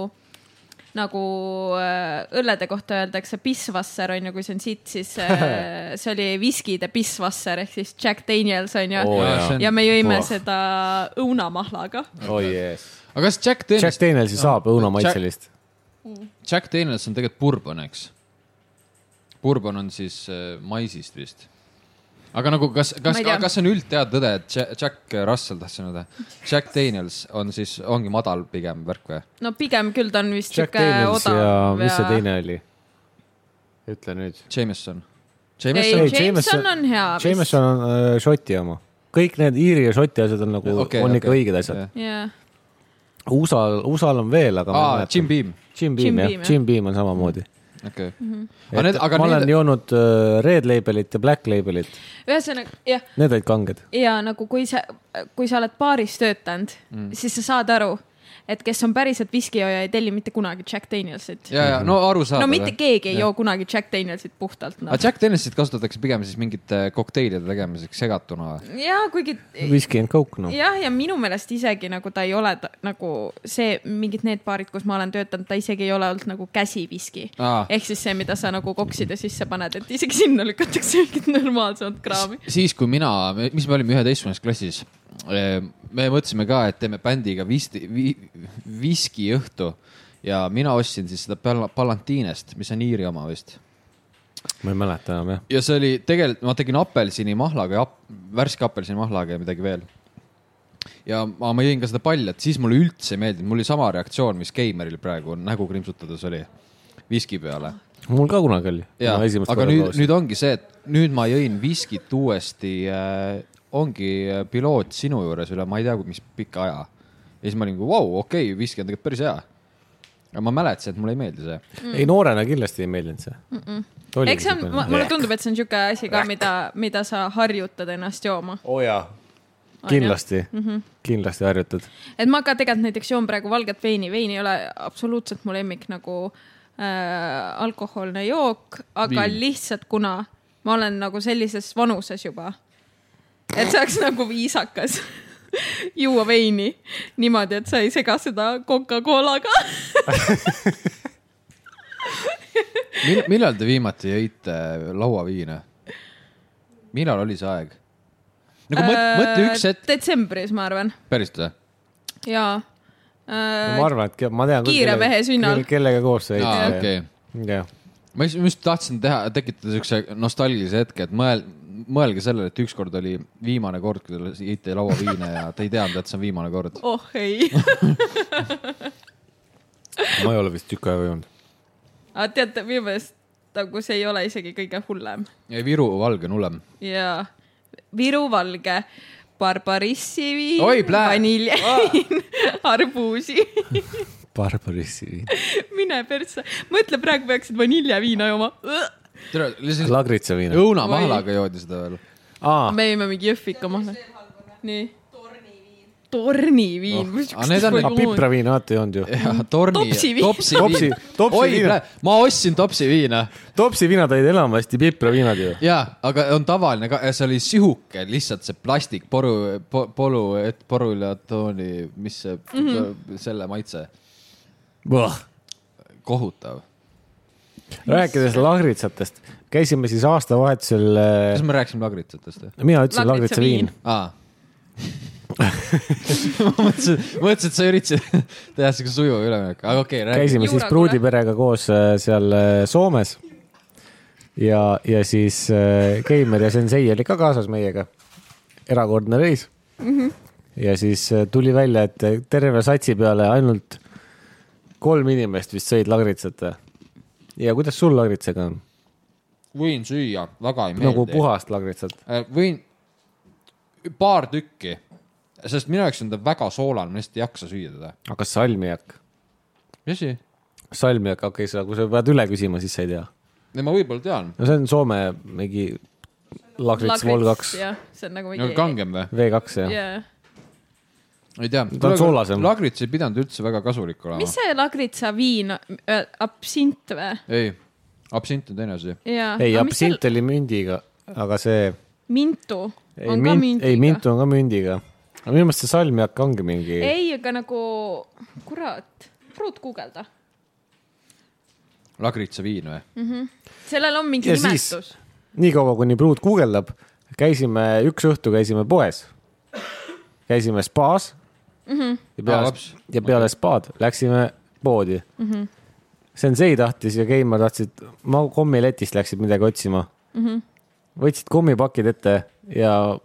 Speaker 2: nagu äh, õllede kohta öeldakse , pissvasser on ju , kui see on sitt , siis
Speaker 1: (laughs)
Speaker 2: äh, see oli viskide pissvasser ehk siis Jack Daniels on ju
Speaker 1: Oo, jaa.
Speaker 2: ja me jõime
Speaker 1: Oh.
Speaker 2: oh. seda õunamahlaga .
Speaker 1: oi jees .
Speaker 4: aga kas Jack Daniels
Speaker 1: Jack , Danielsi saab õunamaitselist .
Speaker 4: Jack Daniels on tegelikult bourbon , eks ? Bourbon on siis äh, maisist vist . aga nagu kas , kas
Speaker 2: Ma ei tea. ,
Speaker 4: kas see on üldteada tõde , et Ja- Jack Russell tahtsin öelda , Jack Daniels on siis , ongi madal pigem värk või ?
Speaker 2: no pigem küll ta on vist
Speaker 1: Jack
Speaker 2: sihuke
Speaker 1: Daniels
Speaker 2: odav
Speaker 1: ja mis see teine oli ? ütle nüüd .
Speaker 4: Jameson .
Speaker 2: ei ,
Speaker 4: Jameson ,
Speaker 1: Ei,
Speaker 2: Jameson,
Speaker 1: Jameson-
Speaker 2: on hea vist .
Speaker 1: Jameson on äh, Šoti oma . kõik need Iiri ja Šoti asjad on nagu ,
Speaker 4: Okei,
Speaker 1: on ikka
Speaker 4: okei.
Speaker 1: õiged asjad .
Speaker 2: jah ,
Speaker 1: USA-l , USA-l on veel , aga
Speaker 4: aa , Jim . Beam ,
Speaker 1: Jim Beam
Speaker 2: Jim
Speaker 1: jah
Speaker 2: Beam, , jah.
Speaker 1: Jim Beam on samamoodi .
Speaker 4: okei .
Speaker 2: Mhm.
Speaker 1: ma
Speaker 4: aga need , aga
Speaker 1: olen
Speaker 4: need ,
Speaker 1: joonud äh, Red Labelit ja Black Labelit ,
Speaker 2: ühesõnaga jah ,
Speaker 1: need olid kanged .
Speaker 2: ja nagu kui sa , kui sa oled baaris töötanud mm. , siis sa saad aru , et kes on päriselt viskijoja , ei telli mitte kunagi Jack Danielsit .
Speaker 4: ja , ja no
Speaker 2: no
Speaker 4: arusaadav .
Speaker 2: mitte keegi ei joo kunagi Jack Danielsit puhtalt noh. no.
Speaker 4: aga . Jack Danielsit kasutatakse pigem siis mingite kokteilide tegemiseks segatuna või ?
Speaker 2: ja kuigi
Speaker 1: Whisky and Coke , noh .
Speaker 2: jah , ja minu meelest isegi nagu ta ei ole ta, nagu see , mingid need baarid , kus ma olen töötanud , ta isegi ei ole olnud nagu käsiviski
Speaker 4: Aa.
Speaker 2: ehk siis see , mida sa nagu kokside sisse paned , et isegi sinna lükatakse mingit normaalsemat kraami .
Speaker 4: siis , kui mina , mis me olime üheteistkümnes klassis , me mõtlesime ka , et teeme bändiga visti- vi, , viskiõhtu ja mina ostsin siis seda Pal- Palantinest , mis on Iiri oma vist .
Speaker 1: ma ei mäleta enam jah .
Speaker 4: ja see oli tegelikult , ma tegin apelsinimahlaga ja ap, värske apelsinimahlaga ja midagi veel . ja ma, ma jõin ka seda palja , et siis mulle üldse ei meeldinud , mul oli sama reaktsioon , mis Keimeril praegu on, nägu krimpsutades oli viski peale
Speaker 1: mul ka kunagi oli .
Speaker 4: ja
Speaker 1: ma esimest
Speaker 4: aga
Speaker 1: korda
Speaker 4: nüüd ,
Speaker 1: proovisin .
Speaker 4: nüüd ongi see , et nüüd ma jõin viskit uuesti äh, , ongi äh, piloot sinu juures üle , ma ei tea , mis pika aja . ja siis ma olin nagu , vau , okei , viski on tegelikult päris hea . aga ma mäletasin , et mulle ei meeldi see .
Speaker 1: ei noorena kindlasti ei meeldinud see .
Speaker 2: Mm. eks see on , mulle tundub , et see on niisugune asi ka , mida , mida sa harjutad ennast jooma .
Speaker 1: oo jaa . kindlasti ,
Speaker 2: Mhm.
Speaker 1: kindlasti harjutad .
Speaker 2: et ma ka tegelikult näiteks joon praegu valget veini , vein ei ole absoluutselt mu lemmik nagu äh, alkohoolne jook , aga
Speaker 4: Viin.
Speaker 2: Viin. lihtsalt kuna ma olen nagu sellises vanuses juba , et see oleks (laughs) nagu viisakas (laughs) juua veini niimoodi , et sa ei sega seda Coca-Colaga .
Speaker 4: Mill, millal te viimati jõite äh, lauaviina ? millal oli see aeg ? nagu
Speaker 2: Äh,
Speaker 4: mõtle , mõtle üks hetk ,
Speaker 2: detsembris , ma arvan ,
Speaker 4: päriselt või ?
Speaker 2: jaa
Speaker 1: ma
Speaker 2: äh, .
Speaker 1: arvan , et ke- ma tean .
Speaker 2: Kiire mehe sünnal.
Speaker 1: kellega koos sa
Speaker 4: aa , okei
Speaker 1: jõid .
Speaker 4: okay. .
Speaker 1: jah ,
Speaker 4: ma just , ma just tahtsin teha , tekitada siukse nostalgilise hetke , et mõel- , mõelge sellele , et ükskord oli viimane kord , kui te jõite lauaviina ja te ei teadnud , et see on viimane kord .
Speaker 2: oh
Speaker 4: (laughs)
Speaker 2: ei ,
Speaker 1: ma ei ole vist tükk aega joonud .
Speaker 2: aga teate , minu meelest nagu see ei ole isegi kõige hullem
Speaker 4: ei , Viru valge on hullem .
Speaker 2: jaa , Viru valge , barbarissi viin
Speaker 4: Oi, , plää-
Speaker 2: vaniljeviin , arbuusi ,
Speaker 1: Barbarissi ,
Speaker 2: mine persse . mõtle , praegu peaksid vaniljeviina jooma .
Speaker 4: tere , lihtsalt
Speaker 1: lagritsa viina .
Speaker 4: õunamahlaga joodi seda veel .
Speaker 1: aa ,
Speaker 2: me jõime mingi jõhvika maha . nii . torniviin .
Speaker 4: aga need on-
Speaker 1: aga
Speaker 2: torniviin .
Speaker 1: pipraviina vaata ei olnud ju .
Speaker 4: jah , torni ,
Speaker 2: Topsi viin.
Speaker 4: topsi
Speaker 1: Topsi-
Speaker 4: viin .
Speaker 1: topsi
Speaker 4: oi
Speaker 1: viin. ,
Speaker 4: ma ostsin topsi viina
Speaker 1: Topsi viinad olid enamasti pipraviinad ju .
Speaker 4: ja , aga on tavaline ka , see oli sihuke , lihtsalt see plastikporu po, , polu , et porulatooni , mis see
Speaker 2: Mhm.
Speaker 4: mm , -hmm. selle maitse , kohutav .
Speaker 1: rääkides lagritsatest , käisime siis aastavahetusel ,
Speaker 4: kas me rääkisime lagritsatest või ?
Speaker 1: mina ütlesin
Speaker 2: Lagritsa
Speaker 1: lagritsa viin
Speaker 2: viin. .
Speaker 4: aa . ma mõtlesin , mõtlesin , et sa üritasid (laughs) teha siukse sujuva ülemineku , aga okei okay, , räägi .
Speaker 1: käisime siis
Speaker 2: Juurakule.
Speaker 1: pruudiperega koos äh, seal äh, Soomes . ja , ja siis äh, Keimer ja Sensei oli ka kaasas meiega . erakordne reis mm . -hmm. ja siis äh, tuli välja , et äh, terve satsi peale ainult kolm inimest vist sõid lagritsat . ja kuidas sul lagritsaga on ?
Speaker 4: võin süüa , väga ei meeldi .
Speaker 1: nagu puhast lagritsat .
Speaker 4: Äh, võin , paar tükki , sest minu jaoks on ta väga soolane , ma lihtsalt ei jaksa süüa teda .
Speaker 1: aga kas salmiak ?
Speaker 4: mis asi ?
Speaker 1: salmiak , okei okay, , seda , kui sa pead üle küsima , siis sa ei tea .
Speaker 4: ei , ma võib-olla tean .
Speaker 1: no see on Soome mingi Lagrits Vol kaks ,
Speaker 2: jah , see on nagu mingi .
Speaker 4: kangem või ?
Speaker 1: V2 jah yeah. .
Speaker 2: jah .
Speaker 4: ei tea
Speaker 1: Ta on . soolasem.
Speaker 4: lagrits ei pidanud üldse väga kasulik olema
Speaker 2: mis . see lagritsa viin , absint või ?
Speaker 4: ei , absint on teine asi .
Speaker 2: jaa .
Speaker 1: ei , absint oli mündiga , aga see ,
Speaker 2: mintu
Speaker 1: ei
Speaker 2: on ka
Speaker 1: mint ,
Speaker 2: mindiga .
Speaker 1: ei mint on ka mündiga . aga minu meelest see salmiak ongi mingi ,
Speaker 2: ei , aga nagu , kurat , pruut guugelda .
Speaker 4: lagritsa viin või ?
Speaker 2: Mm. sellel on mingi
Speaker 1: Ja
Speaker 2: ja
Speaker 1: siis-
Speaker 2: nimetus .
Speaker 1: niikaua kuni pruut guugeldab , käisime üks õhtu käisime poes , käisime spaas mm .
Speaker 2: Mhm.
Speaker 1: -hmm. ja
Speaker 4: Aa,
Speaker 1: peale
Speaker 4: laps. ,
Speaker 1: ja peale spaad läksime poodi mm . -hmm.
Speaker 2: Mhm.
Speaker 1: Sensei tahtis ja Keima tahtsid , ma kommiletist läksid midagi otsima mm .
Speaker 2: Mhm.
Speaker 1: -hmm. võtsid kommipakid ette ja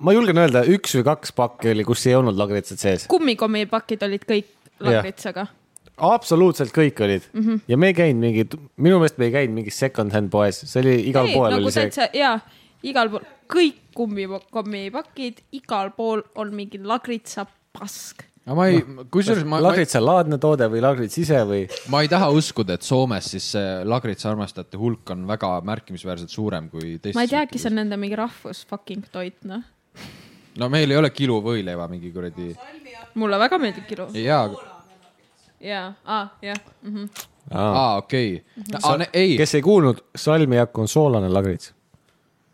Speaker 1: ma julgen öelda , üks või kaks pakki oli , kus ei olnud lagritsat sees .
Speaker 2: kummikommipakid olid kõik lagritsaga .
Speaker 1: absoluutselt kõik olid mm -hmm. ja me ei käinud mingit , minu meelest me ei käinud mingis second hand poes , see oli igal
Speaker 2: ei ,
Speaker 1: poel
Speaker 2: nagu
Speaker 1: oli see
Speaker 2: täitsa jaa , igal pool , kõik kummikommipakid , igal pool on mingi lagritsa pask .
Speaker 4: aga ma ei , kusjuures ma , ma,
Speaker 1: lagritsa laadne toode või lagrits ise või
Speaker 4: ma ei taha uskuda , et Soomes siis see lagritsa armastajate hulk on väga märkimisväärselt suurem kui teistes .
Speaker 2: ma ei tea , äkki see on nende mingi rahvus fucking toit , noh .
Speaker 4: no meil ei ole kilu võileiva mingi kuradi .
Speaker 2: mulle väga meeldib kilu .
Speaker 4: jaa ,
Speaker 2: jaa , aa , jah mm -hmm. .
Speaker 1: ah. ?
Speaker 4: aa okei .
Speaker 2: Mhm.
Speaker 4: ei ,
Speaker 1: kes ei kuulnud , salmiak on soolane lagrits .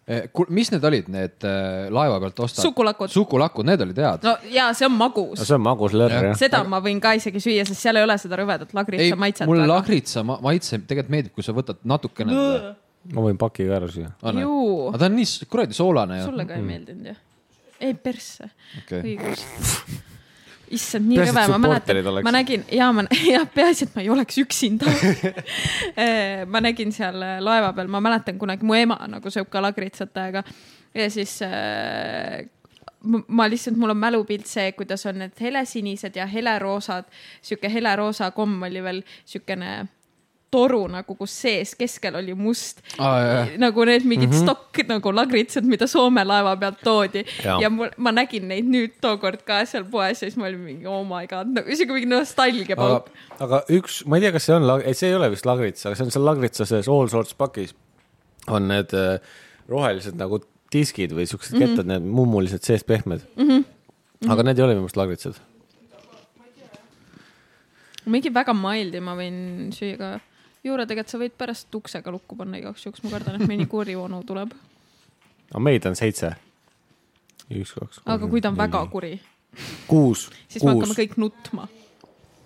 Speaker 4: Eh, mis need olid , need äh, laeva pealt osta ?
Speaker 2: Sukulakud.
Speaker 4: sukulakud , need olid head .
Speaker 2: no jaa , see on magus
Speaker 1: no . see on magus lörr jah .
Speaker 2: seda ma võin ka isegi süüa , sest seal ei ole seda rõvedat
Speaker 4: ei
Speaker 2: lagritsa , maitset .
Speaker 4: mulle lagritsa ma- maitse tegelikult meeldib , kui sa võtad natukene .
Speaker 1: ma võin paki ka ära süüa .
Speaker 2: Juu.
Speaker 4: aga ta on nii s- kuradi soolane ju .
Speaker 2: sulle ka ei
Speaker 1: Mm.
Speaker 2: meeldinud ju ? ei , persse .
Speaker 4: okei ,
Speaker 2: õigus . issand , nii
Speaker 1: Peaasi, et
Speaker 2: rõve , ma mäletan
Speaker 1: supporterid oleks. ,
Speaker 2: ma nägin ja ma , (laughs) ja peaasi , et ma ei oleks
Speaker 1: (laughs)
Speaker 2: üksinda . ma nägin seal äh, laeva peal , ma mäletan kunagi mu ema nagu sööb ka lagritsatega ja siis äh, ma- ma lihtsalt , mul on mälupilt see , kuidas on need helesinised ja heleroosad , sihuke heleroosa komm oli veel siukene toru nagu , kus sees keskel oli must
Speaker 4: Aa, jah.
Speaker 2: nagu need mingid mm
Speaker 1: Mhm.
Speaker 2: -hmm. stokk nagu lagritsad , mida Soome laeva pealt toodi
Speaker 1: Jaa.
Speaker 2: ja, ja mul , ma nägin neid nüüd tookord ka seal poes ja siis ma olin mingi oh my god , nagu isegi mingi nostalgia
Speaker 1: aga
Speaker 2: pauk ,.
Speaker 1: aga üks , ma ei tea , kas see on , ei , see ei ole vist lagrits , aga see on seal lagritsa sees all sorts pakis on need äh, rohelised nagu diskid või siuksed mm -hmm. kettad , need mummulised sees pehmed mm . -hmm. aga need ei ole minu meelest lagritsad .
Speaker 2: mingi väga mildi ma võin süüa ka . Juure , tegelikult sa võid pärast uksega lukku panna igaks juhuks , ma kardan , et (laughs) mõni kuri onu tuleb .
Speaker 1: aga meid on seitse . üks , kaks ,
Speaker 2: aga kui ta on väga kuri ,
Speaker 1: kuus ,
Speaker 2: siis me hakkame
Speaker 1: kuus .
Speaker 2: kõik nutma .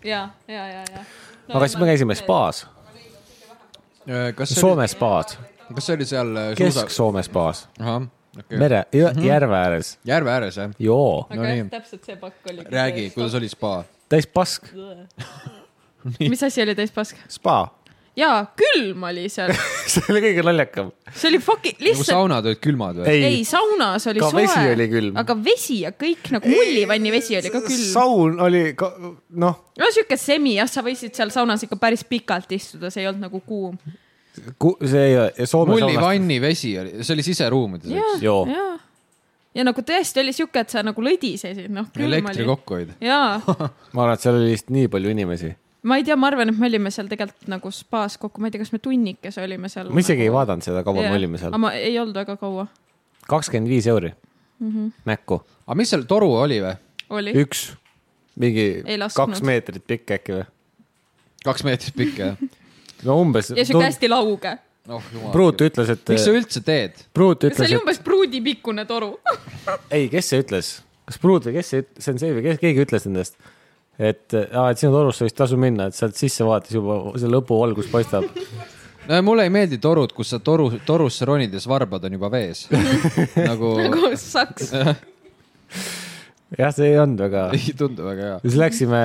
Speaker 2: ja , ja , ja , ja .
Speaker 1: aga siis me käisime . spaas ,
Speaker 4: Eh, kas see oli ,
Speaker 1: Soome spaas ,
Speaker 4: kas see oli seal äh, suusa-
Speaker 1: Kesk-Soome spaas ,
Speaker 4: ahah , okei okay. ,
Speaker 1: mere , järve ääres ,
Speaker 4: järve ääres jah ?
Speaker 1: joo
Speaker 4: No
Speaker 2: aga
Speaker 4: nii.
Speaker 2: jah, täpselt see pakk oli .
Speaker 4: räägi ,. kuidas oli spa ? Nagu
Speaker 1: täis pask ,
Speaker 2: mis asi oli teist pask ?
Speaker 1: spa . (laughs)
Speaker 2: jaa , külm oli seal ,
Speaker 1: see oli kõige naljakam .
Speaker 2: see oli fucking
Speaker 4: nagu
Speaker 2: lihtsalt .
Speaker 4: saunad olid külmad või ?
Speaker 1: ei,
Speaker 2: ei , saunas oli
Speaker 1: Ka
Speaker 2: soe .
Speaker 1: vesi oli külm.
Speaker 2: aga vesi ja kõik nagu mullivanni vesi oli ka külm .
Speaker 1: saun oli , noh ,
Speaker 2: no sihuke semi jah , sa võisid seal saunas ikka päris pikalt istuda , see ei olnud nagu kuum .
Speaker 1: see ei ole , Soome
Speaker 4: mulli
Speaker 1: saunas ,
Speaker 4: vannivesi oli , see oli siseruumides ,
Speaker 2: ja
Speaker 4: eks ?,
Speaker 1: Joo.
Speaker 2: ja , ja nagu tõesti oli sihuke , et sa nagu lõdisesid , noh külm
Speaker 4: elektri
Speaker 2: oli .
Speaker 4: kokkuhoid .
Speaker 1: (laughs)
Speaker 2: jaa ,
Speaker 1: ma arvan , et seal oli vist nii palju inimesi .
Speaker 2: ma ei tea , ma arvan , et me olime seal tegelikult nagu spaas kokku , ma ei tea , kas me tunnikese olime seal .
Speaker 1: ma isegi ei vaadanud seda , kaua me olime seal
Speaker 2: aga . ma ei olnud väga kaua ,
Speaker 1: kakskümmend viis euri
Speaker 2: Mhm.
Speaker 1: näkku ,
Speaker 4: aga mis seal toru oli või ?
Speaker 2: oli .
Speaker 1: üks , mingi
Speaker 2: Ei lasknud.
Speaker 1: kaks meetrit pikk äkki või ?
Speaker 4: kaks meetrit pikk
Speaker 1: (laughs)
Speaker 4: jah ?
Speaker 1: no umbes .
Speaker 2: ja sihuke hästi lauge .
Speaker 4: oh jumal .
Speaker 1: Pruut ütles , et ,
Speaker 4: miks sa üldse teed ?
Speaker 1: Pruut
Speaker 2: see
Speaker 1: ütles ,
Speaker 2: oli
Speaker 1: et
Speaker 2: umbes pruudipikkune toru . (laughs)
Speaker 1: ei , kes see ütles , kas Pruut või kes see , Sensei või kes , keegi ütles nendest , et aa , et sinu torusse vist tasu minna , et sealt sisse vaadates juba see lõpuvalgus paistab .
Speaker 4: no mulle ei meeldi torud , kus sa toru , torusse ronides varbad on juba (laughs) vees . nagu
Speaker 2: nagu saks .
Speaker 1: jah , see ei olnud väga .
Speaker 4: ei tundu väga hea .
Speaker 1: ja siis läksime ,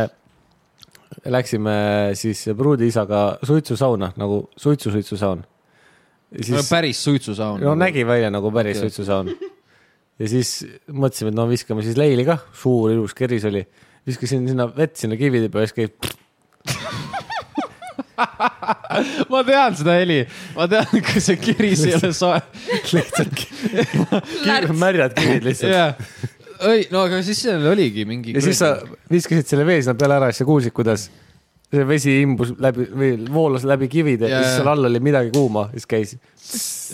Speaker 1: läksime siis pruudi isaga suitsusauna nagu suitsu-suitsusaun .
Speaker 4: no
Speaker 1: siis no,
Speaker 4: Nagu päris suitsusaun .
Speaker 1: no nägi välja nagu päris
Speaker 4: Okei.
Speaker 1: okay. suitsusaun . ja siis mõtlesime , et no viskame siis leili kah , suur ilus keris oli , viskasin sinna vett sinna kivide peale , siis käis (laughs)
Speaker 4: ma tean seda heli , ma tean , (laughs) kui see kiris ei ole soe .
Speaker 1: lihtsalt kiv,
Speaker 2: Lärts.
Speaker 1: märjad kivid lihtsalt .
Speaker 4: jah . ei , no aga siis seal oligi mingi .
Speaker 1: ja siis sa viskasid selle vee sinna peale ära ja siis sa kuulsid , kuidas see vesi imbus läbi või voolas läbi kivide ja
Speaker 4: Jaa,
Speaker 1: siis
Speaker 4: jaa.
Speaker 1: seal all oli midagi kuuma , siis käis .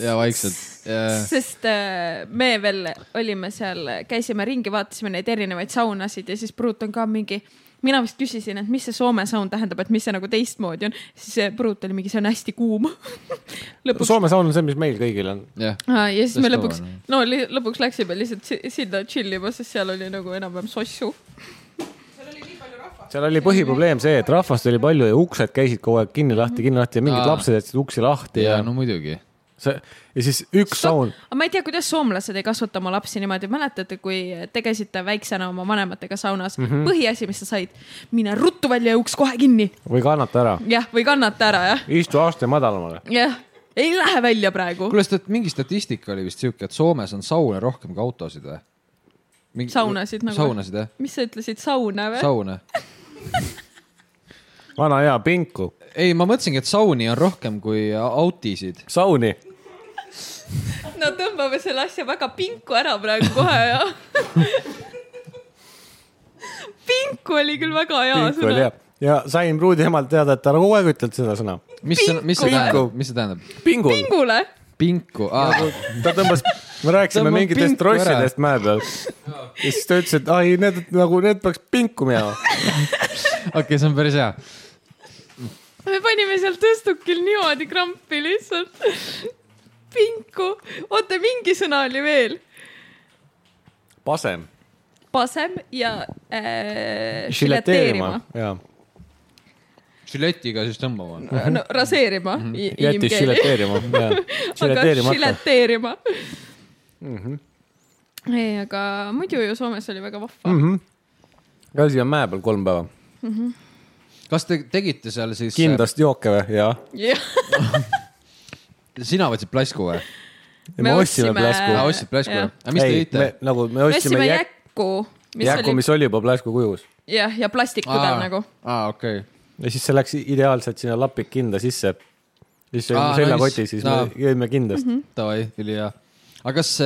Speaker 4: ja vaikselt ja... .
Speaker 2: sest äh, me veel olime seal , käisime ringi , vaatasime neid erinevaid saunasid ja siis Pruut on ka mingi , mina vist küsisin , et mis see Soome saun tähendab , et mis see nagu teistmoodi on , siis äh, Pruut oli mingi , see on hästi kuum . (laughs) lõpuks
Speaker 1: Soome saun on see , mis meil kõigil on .
Speaker 4: jah ,
Speaker 2: ah, ja siis me
Speaker 4: Täiesti
Speaker 2: lõpuks
Speaker 4: tavaline. ,
Speaker 2: no li, lõpuks läksime lihtsalt si- sinna chill ima , sest seal oli nagu enam-vähem sossu .
Speaker 1: seal oli põhiprobleem see , et rahvast oli palju ja uksed käisid kogu aeg kinni-lahti , kinni-lahti ja mingid
Speaker 4: Aa.
Speaker 1: lapsed jätsid uksi lahti ja,
Speaker 4: ja no muidugi .
Speaker 1: see ja siis üks saun ,
Speaker 2: aga ma ei tea , kuidas soomlased ei kasvata oma lapsi niimoodi , mäletate , kui te käisite väiksena oma vanematega saunas mm ,
Speaker 1: Mhm.
Speaker 2: -hmm. põhiasi , mis sa said , mine ruttu välja ja uks kohe kinni ,
Speaker 1: või kannata ära ,
Speaker 2: jah , või kannata ära , jah ,
Speaker 1: istu aasta madalamale .
Speaker 2: jah , ei lähe välja praegu .
Speaker 4: kuule , sest et mingi statistika oli vist siuke , et Soomes on saune rohkem kui autosid või mingi... ?
Speaker 2: Saunasid nagu-
Speaker 4: saunasid jah ,
Speaker 2: mis sa ütlesid , sauna või ?
Speaker 4: saune .
Speaker 1: vana hea pinku ,
Speaker 4: ei , ma mõtlesingi , et sauni on rohkem kui autosid .
Speaker 1: sauni ,
Speaker 2: no tõmbame selle asja väga pinku ära praegu kohe ja (laughs) pinku oli küll väga hea
Speaker 1: pink oli hea . ja sain pruudi emalt teada , et ta nagu kogu aeg ütleb seda sõna .
Speaker 4: mis see , mis see
Speaker 2: Pinku.
Speaker 4: tähendab , mis see tähendab ?
Speaker 1: pingul .
Speaker 2: pingule .
Speaker 4: pinku ah, ,
Speaker 1: ta tõmbas , (laughs) me rääkisime
Speaker 4: Tõmbab
Speaker 1: mingitest
Speaker 4: pinku ära.
Speaker 1: rossidest mäe peal . ja siis ta ütles , et ai , need nagu , need peaks pinku minema .
Speaker 4: okei okay, , see on päris hea .
Speaker 2: me panime seal tõstukil niimoodi krampi lihtsalt . pinku , oota , mingi sõna oli veel .
Speaker 1: pasem .
Speaker 2: pasem ja äh,
Speaker 1: žileteerima
Speaker 2: žileteerima .,
Speaker 1: jaa .
Speaker 4: žiletiga siis tõmbama on .
Speaker 2: no raseerima .
Speaker 1: jättis žileteerima , jaa .
Speaker 2: aga
Speaker 1: žileteerimata .
Speaker 2: šileteerima mm .
Speaker 4: Mhm.
Speaker 2: -hmm. ei , aga muidu ju Soomes oli väga vahva
Speaker 4: Mhm.
Speaker 2: mm .
Speaker 1: käsi on mäe peal kolm päeva .
Speaker 4: kas te tegite seal siis , äh,
Speaker 1: kindlasti jooke või ? jaa .
Speaker 2: -hmm.
Speaker 4: sina võtsid plasku või ?
Speaker 1: me ostsime
Speaker 4: aa ,
Speaker 1: plasku .
Speaker 4: ostsid plasku
Speaker 2: Jah.
Speaker 4: või ? aga mis te
Speaker 1: ei ,
Speaker 4: tõite
Speaker 1: me ? nagu me
Speaker 2: me
Speaker 1: ostsime
Speaker 2: ostsime
Speaker 1: jä-
Speaker 2: jäkku , mis
Speaker 1: jäku ,
Speaker 2: oli
Speaker 1: mis oli juba plasku kujus .
Speaker 2: jah , ja plastikpudel nagu .
Speaker 4: aa , okei .
Speaker 1: ja siis see läks ideaalselt sinna lapik kinda sisse . siis see oli
Speaker 4: Aa,
Speaker 1: mu seljakoti ,
Speaker 4: nice.
Speaker 1: siis
Speaker 4: Aa.
Speaker 1: me jõime kindlasti .
Speaker 2: Mhm.
Speaker 4: Davai , ülihea . aga kas ,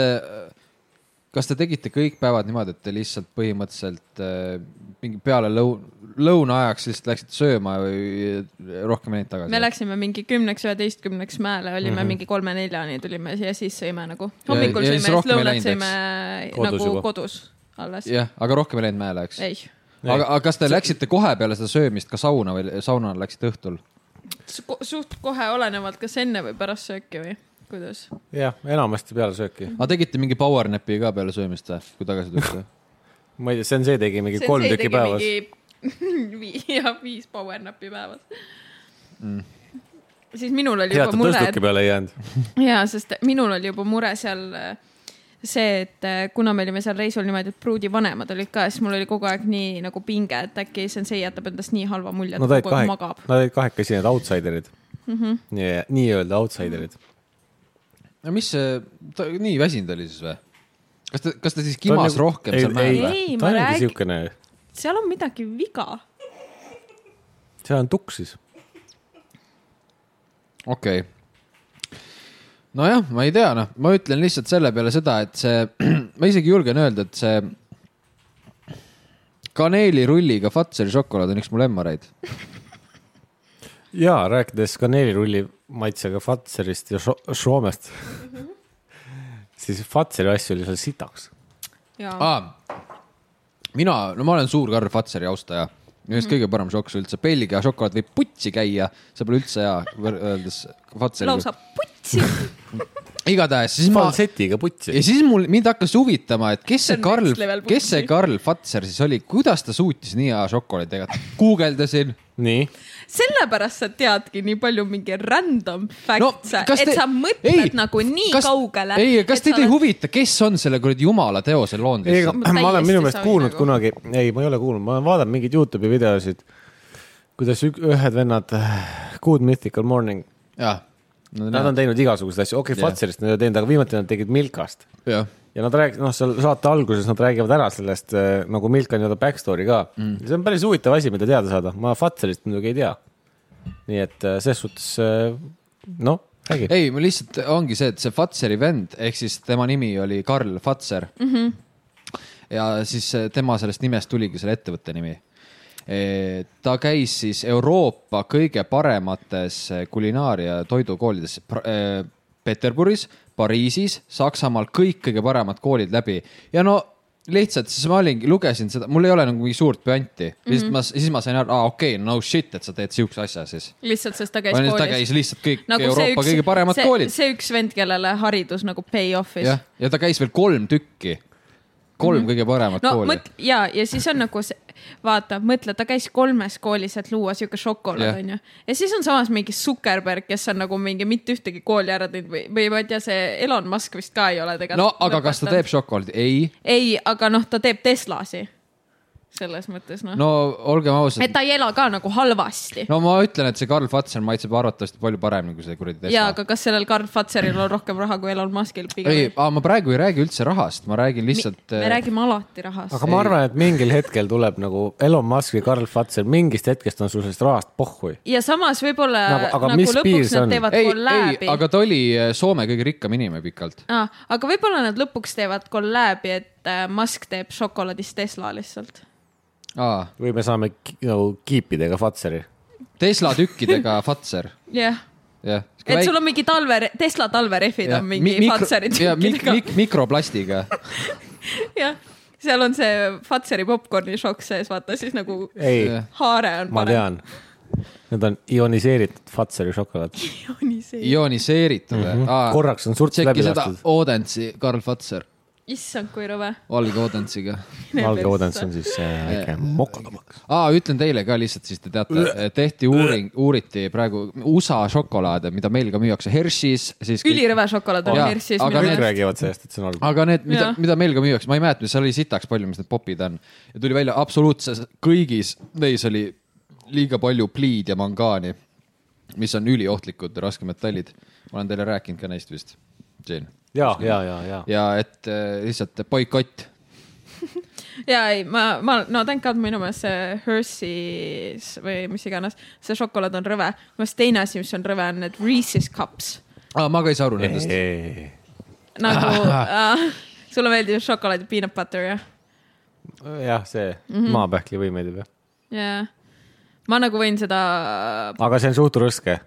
Speaker 4: kas te tegite kõik päevad niimoodi , et te lihtsalt põhimõtteliselt äh, mingi peale lõun- , lõuna ajaks lihtsalt läksite sööma või äh, rohkem ei läinud tagasi
Speaker 2: me ? läksime mingi kümneks , üheteistkümneks mäele , olime mm -hmm. mingi kolme-neljani tulime ja siis sõime nagu . hommikul
Speaker 4: Mhm. ja siis
Speaker 2: sõime , siis
Speaker 4: rohkem ei
Speaker 2: lõunat
Speaker 4: läinud,
Speaker 2: sõime
Speaker 1: Kodus
Speaker 2: nagu
Speaker 1: juba.
Speaker 2: kodus alles .
Speaker 4: jah , aga rohkem ei läinud mäele , eks ?
Speaker 2: ei ,
Speaker 4: aga , aga kas te läksite kohe peale seda söömist ka sauna või sauna läksite õhtul ?
Speaker 2: suht kohe olenevalt , kas enne või pärast sööki või kuidas .
Speaker 1: jah , enamasti peale sööki .
Speaker 4: aga tegite mingi power nap'i ka peale söömist või , kui tagasi tulite ?
Speaker 1: ma ei tea , Sensei tegi mingi kolm tükki päevas .
Speaker 2: (laughs) mingi jah , viis power nap'i päevas mm. . siis minul oli
Speaker 1: hea , et
Speaker 2: juba
Speaker 1: ta
Speaker 2: mure , et
Speaker 1: tõstuki peale ei jäänud .
Speaker 2: ja sest minul oli juba mure seal äh, see , et äh, kuna me olime seal reisil niimoodi , et pruudi vanemad olid ka , siis mul oli kogu aeg nii nagu pinge , et äkki sensei jätab endast nii halva mulje , et
Speaker 1: Nad
Speaker 2: ta
Speaker 1: olid
Speaker 2: kogu aeg
Speaker 1: kahe
Speaker 2: magab .,
Speaker 1: nad olid kahekesi need outsiderid mm . -hmm. nii-öelda outsiderid .
Speaker 4: (laughs) no mis see , ta nii väsinud oli siis või ? kas ta , kas ta siis kimas nagu... rohkem seal mäel või ?
Speaker 2: Ei,
Speaker 1: ta
Speaker 2: ma
Speaker 1: oligi
Speaker 2: räägin-
Speaker 1: siukene ,
Speaker 2: seal on midagi viga .
Speaker 1: seal on tuksis .
Speaker 4: okei okay. . nojah , ma ei tea , noh , ma ütlen lihtsalt selle peale seda , et see , (clears throat) ma isegi julgen öelda , et see kaneelirulliga Fazeri šokolaad on üks mu lemmareid .
Speaker 1: ja rääkides kaneelirulli maitsega Fazerist ja Šo- Soomest , siis Fazeri asju oli seal sitaks .
Speaker 2: ja ah.
Speaker 4: ah, . mina , no ma olen suur Karl Fazeri austaja , üks kõige parem šoks üldse , Belgia šokolaad võib putsi käia , see pole üldse hea võr- öeldes
Speaker 2: lausa
Speaker 4: Fazeriga . (laughs)
Speaker 2: putsi .
Speaker 4: igatahes siis ma ,
Speaker 1: falsetiga putsi
Speaker 4: ja . siis mul , mind hakkas huvitama , et kes
Speaker 2: See
Speaker 4: see
Speaker 2: on
Speaker 4: Karl
Speaker 2: next level ,
Speaker 4: kes see
Speaker 2: putsi.
Speaker 4: Karl Fazer siis oli , kuidas ta suutis nii hea šokolaadi teha , guugeldasin .
Speaker 1: nii ,
Speaker 2: sellepärast sa teadki nii palju mingi random
Speaker 4: No,
Speaker 2: fact'e no, ,
Speaker 4: kas
Speaker 2: et
Speaker 4: te-
Speaker 2: sa
Speaker 4: ei,
Speaker 2: mõtled ei, nagu nii
Speaker 4: kas-
Speaker 2: kas, kaugele .
Speaker 4: ei , kas teid ei ? huvita , kes on selle kuradi jumala teose loonud
Speaker 1: ei , aga
Speaker 4: lihtsalt ?
Speaker 2: Ma
Speaker 1: ma olen
Speaker 2: täiesti
Speaker 1: minu meelest
Speaker 2: sain
Speaker 1: kuulnud
Speaker 2: nagu-
Speaker 1: kunagi , ei , ma ei ole kuulnud , ma olen vaadanud mingeid Youtube'i videosid , kuidas ük- ühed vennad , Good Mythical Morning ,
Speaker 4: jah , nad
Speaker 1: nad on teinud igasuguseid asju , okei okay, ,
Speaker 4: Jah.
Speaker 1: Fazerist nad ei ole teinud , aga viimati nad tegid Milkast
Speaker 4: jah ,
Speaker 1: ja nad rääkisid , noh , seal saate alguses nad räägivad ära sellest eh, nagu Milka nii-öelda backstory ka mm. . see on päris huvitav asi , mida teada saada , ma Fazerist muidugi ei tea . nii et eh, ses suhtes , noh , räägi .
Speaker 4: ei , ma lihtsalt ongi see , et see Fazeri vend ehk siis tema nimi oli Karl eh, Fazer mm . -hmm. ja siis tema sellest nimest tuligi selle ettevõtte nimi . ta käis siis Euroopa kõige paremates eh, kulinaaria toidukoolides Pra- eh, Peterburis , Pariisis , Saksamaal , kõik kõige paremad koolid läbi ja no lihtsalt siis ma olingi , lugesin seda , mul ei ole nagu mingi suurt püanti , lihtsalt ma , siis ma sain aru , aa okei okay, , no shit , et sa teed siukse asja siis .
Speaker 2: lihtsalt , sest ta käis
Speaker 4: ta
Speaker 2: koolis .
Speaker 4: käis lihtsalt kõik nagu Euroopa üks, kõige paremad
Speaker 2: see,
Speaker 4: koolid .
Speaker 2: see üks vend , kellele haridus nagu pay off'is .
Speaker 4: jah , ja ta käis veel kolm tükki , kolm mm -hmm. kõige paremat
Speaker 2: Mhm. no
Speaker 4: no, kooli
Speaker 2: mõt- ja , ja siis on nagu see , vaata , mõtle , ta käis kolmes koolis , et luua sihuke
Speaker 4: Jah.
Speaker 2: šokolaad onju . ja siis on samas mingi Zuckerberg , kes on nagu mingi mitte ühtegi kooli ära teinud või , või ma ei tea , see Elon Musk vist ka ei ole tegelikult .
Speaker 4: no aga kas ta teeb ? šokolaadi ? ei ,
Speaker 2: ei , aga noh , ta teeb Teslasi . selles mõttes noh no. ,
Speaker 4: no olgem
Speaker 2: et
Speaker 4: ausad ,
Speaker 2: ta ei ela ka nagu halvasti no, .
Speaker 4: no ma ütlen , et see Karl Fazer maitseb arvatavasti palju paremini kui see kuradi
Speaker 2: ja ,
Speaker 4: Tesla .
Speaker 2: aga kas sellel Karl Fazeril on rohkem raha kui Elon Muskil
Speaker 4: ei
Speaker 2: pigem ?,
Speaker 4: ma praegu ei räägi üldse rahast , ma räägin lihtsalt . äh,
Speaker 2: me räägime alati rahast
Speaker 1: äh, aga . ma arvan , et mingil hetkel tuleb nagu Elon Musk või Karl Fazer , mingist hetkest on sul sellest rahast pohhui .
Speaker 2: ja samas võib-olla
Speaker 1: Nagu-
Speaker 2: nagu,
Speaker 1: aga mis
Speaker 2: nagu
Speaker 1: piir
Speaker 2: lõpuks
Speaker 1: see on?
Speaker 2: nad teevad
Speaker 4: ei , ei ,
Speaker 2: kolläbi .
Speaker 4: aga ta oli äh, Soome kõige rikkam inimene pikalt .
Speaker 2: ah, . aga võib-olla nad lõpuks teevad kolläbi , et äh, Musk teeb šokolaadist Tesla lihtsalt .
Speaker 4: aa ,
Speaker 1: või me saame ki- nagu kiipidega Fazeri .
Speaker 4: Tesla
Speaker 2: (laughs)
Speaker 4: tükkidega Fazer ,
Speaker 2: jah ,
Speaker 4: jah .
Speaker 2: et sul on mingi talve , Tesla talverehvid on mingi Fazeri tükkidega , (laughs)
Speaker 4: mikroplastiga
Speaker 2: jah . seal on see Fazeri popkorni šokk sees , vaata siis nagu
Speaker 1: ei ,
Speaker 4: Jah.
Speaker 2: haare on
Speaker 1: ma
Speaker 2: parem .
Speaker 1: tean . Need on ioniseeritud Fazeri šokolaad .
Speaker 2: jooniseid .
Speaker 4: ioniseeritud mm . -hmm.
Speaker 1: Mhm. Korraks on surts läbi lastud.
Speaker 4: Odentsi , Karl Fazer ,
Speaker 2: issand , kui rõve .
Speaker 4: valge Odentsiga .
Speaker 1: valge odens on siis äh, väike mokakabakas .
Speaker 4: aa , ütlen teile ka lihtsalt , siis te teate , tehti uuring , uuriti praegu USA šokolaade , mida meil ka müüakse Hershey's , siis .
Speaker 2: ülirõve šokolaad on
Speaker 4: Jaa,
Speaker 2: Hershey's
Speaker 1: kõik
Speaker 2: minu
Speaker 4: aga need-
Speaker 2: meelest .
Speaker 1: räägivad sellest , et see on halb .
Speaker 4: aga need , mida
Speaker 2: Jaa. ,
Speaker 4: mida meil ka müüakse , ma ei mäleta , seal oli sitaks palju , mis need popid on ja tuli välja absoluutses kõigis neis oli liiga palju pliid ja mangaani , mis on üliohtlikud raskemetallid . ma olen teile rääkinud ka neist vist siin
Speaker 1: ja , ja , ja , ja .
Speaker 4: ja et eh, lihtsalt boikott
Speaker 2: ja ei , ma , ma , no thank god minu meelest see Hershey's või mis iganes , see šokolaad on rõve . minu meelest teine asi , mis on rõve , on need Reese's cups
Speaker 4: ah, . ma ka ei saa aru nendest .
Speaker 2: nagu
Speaker 4: (laughs)
Speaker 2: äh, , sulle meeldib šokolaad ja peanut butter jah ?
Speaker 1: jah , see
Speaker 2: Mhm.
Speaker 1: maapähkli või meeldib jah .
Speaker 2: jaa . ma nagu võin seda
Speaker 1: aga see on suht rõske .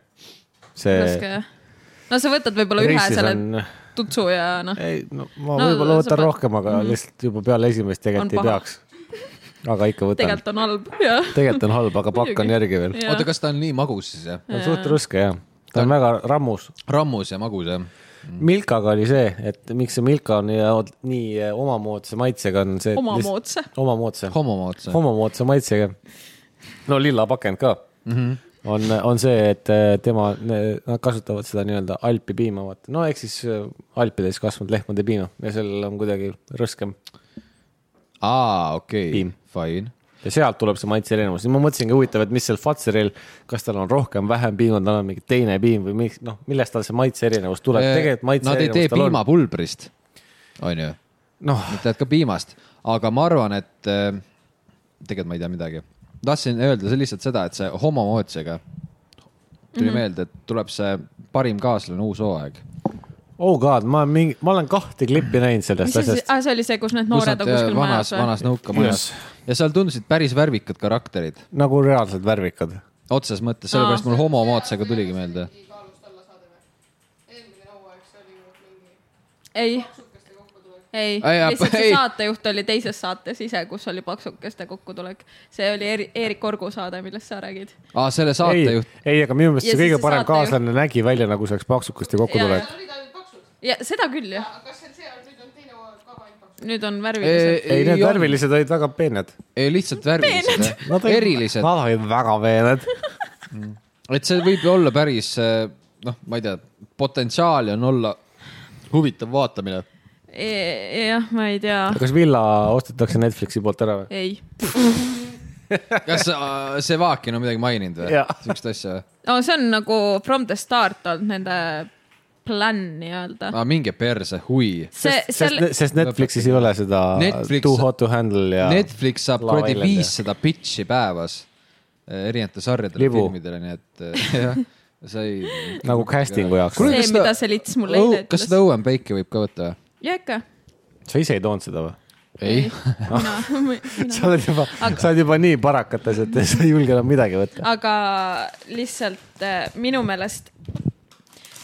Speaker 1: see
Speaker 2: raske .
Speaker 4: Eh.
Speaker 2: no sa võtad võib-olla ühe
Speaker 1: Reese's
Speaker 2: selle
Speaker 1: on ,
Speaker 2: tutsu ja
Speaker 4: Eh,
Speaker 2: noh ,
Speaker 1: ei no ma
Speaker 2: No,
Speaker 1: võib-olla
Speaker 2: sa
Speaker 1: võtan
Speaker 2: pead- Mhm.
Speaker 1: rohkem , aga lihtsalt juba peale esimest
Speaker 2: On
Speaker 1: tegelikult ei
Speaker 2: paha.
Speaker 1: peaks . aga ikka võtan .
Speaker 2: tegelikult on halb ja .
Speaker 1: tegelikult on halb , aga pakk on
Speaker 2: Muidugi.
Speaker 1: järgi veel .
Speaker 4: oota , kas ta on nii magus siis jah ?
Speaker 1: ta on suht rõske jah , ta Mm. on väga rammus .
Speaker 4: rammus ja magus jah ?
Speaker 1: Milkaga oli see , et miks see Milka on nii, nii äh, omamoodse maitsega on see .
Speaker 2: Omamoodse. .
Speaker 1: omamoodse .
Speaker 4: homomoodse .
Speaker 1: homomoodse maitsega . no lilla pakend ka mm . -hmm. on , on see , et äh, tema , nad kasutavad seda nii-öelda alpi piima , vaata , no ehk siis äh, alpides kasvanud lehmade piima ja sellel on kuidagi rõskem
Speaker 4: aa , okei
Speaker 1: Piim. ,
Speaker 4: fine .
Speaker 1: ja sealt tuleb see maitse erinevus , ma mõtlesingi huvitav , et mis seal Fazeril , kas tal on rohkem , vähem piima , tal on mingi teine piim või miks , noh , millest tal see maitse erinevus tuleb , tegelikult maitse
Speaker 4: Äh, Nad ei tee
Speaker 1: erinevus tal on .
Speaker 4: piimapulbrist , onju ,
Speaker 1: noh ,
Speaker 4: nad teevad ka piimast , aga ma arvan , et eh, tegelikult ma ei tea midagi . tahtsin öelda see lihtsalt seda , et see homomoodsega tuli
Speaker 2: Mhm.
Speaker 4: mm -hmm. meelde , et tuleb see parim kaaslane uus hooaeg .
Speaker 1: oh god , ma olen mingi , ma olen kahte klippi näinud
Speaker 2: mis
Speaker 1: sellest
Speaker 2: see siis ,
Speaker 1: asjast .
Speaker 2: aa see oli see , kus need noored on kuskil
Speaker 4: eh, äh, vanas ,
Speaker 2: majas või ?
Speaker 4: vanas nõukamajas
Speaker 1: Yes.
Speaker 4: ja seal tundusid päris värvikad karakterid
Speaker 1: nagu reaalselt värvikad .
Speaker 4: otses mõttes , sellepärast mul homomoodsega tuligi meelde .
Speaker 2: ei , ei ,
Speaker 4: Ai, jaa,
Speaker 2: lihtsalt see
Speaker 4: ei.
Speaker 2: saatejuht oli teises saates ise , kus oli paksukeste kokkutulek . see oli Eeri- , Eerik Orgu saade , millest sa räägid .
Speaker 4: aa , selle
Speaker 1: ei
Speaker 4: saatejuht ,,
Speaker 1: ei , aga minu meelest
Speaker 2: Ja
Speaker 1: see
Speaker 2: siis
Speaker 1: kõige
Speaker 2: see
Speaker 1: parem
Speaker 2: saatejuht-
Speaker 1: kaaslane nägi välja nagu see oleks paksukest ja kokku
Speaker 2: Jaa,
Speaker 1: tulnud .
Speaker 2: ja seda küll jah . nüüd on
Speaker 4: Ei,
Speaker 2: värvilised .
Speaker 1: ei , need
Speaker 4: on-
Speaker 1: värvilised olid väga peened .
Speaker 4: ei lihtsalt värvilised , erilised ,
Speaker 1: Nad olid väga peened .
Speaker 4: et see võib ju olla päris eh, noh , ma ei tea , potentsiaali on olla huvitav vaatamine .
Speaker 2: E, jah , ma ei tea ,
Speaker 1: kas villa ostetakse Netflixi poolt ära või ?
Speaker 2: ei
Speaker 4: kas äh, Sevakin on midagi maininud või
Speaker 1: Jaa. ?
Speaker 4: siukest asja või ?
Speaker 2: no see on nagu from the start olnud nende plan nii-öelda .
Speaker 4: aa , Ah, minge perse , hui .
Speaker 2: see , seal ,
Speaker 1: sest , sest Netflixis ei ole seda
Speaker 4: Netflix-
Speaker 1: Too hot to handle ja
Speaker 4: Netflix saab
Speaker 1: Love
Speaker 4: kuradi
Speaker 1: Island ja-
Speaker 4: viissada pitch'i päevas eh, erinevate sarjadele ,
Speaker 1: Libu.
Speaker 4: filmidele , nii et eh, (laughs) jah , sai .
Speaker 1: nagu casting'u jaoks .
Speaker 4: Kuule,
Speaker 2: see
Speaker 4: kas , ta-
Speaker 2: mida see lits mulle eile
Speaker 4: kas
Speaker 2: ütles
Speaker 4: seda . Owen Bake'i võib ka võtta või ?
Speaker 2: ja ikka ,
Speaker 1: sa ise ei toonud seda või ?
Speaker 4: ei , Ah.
Speaker 2: (laughs)
Speaker 1: sa oled juba aga... , sa oled juba nii parakates , et sa ei julge enam midagi võtta .
Speaker 2: aga lihtsalt äh, minu meelest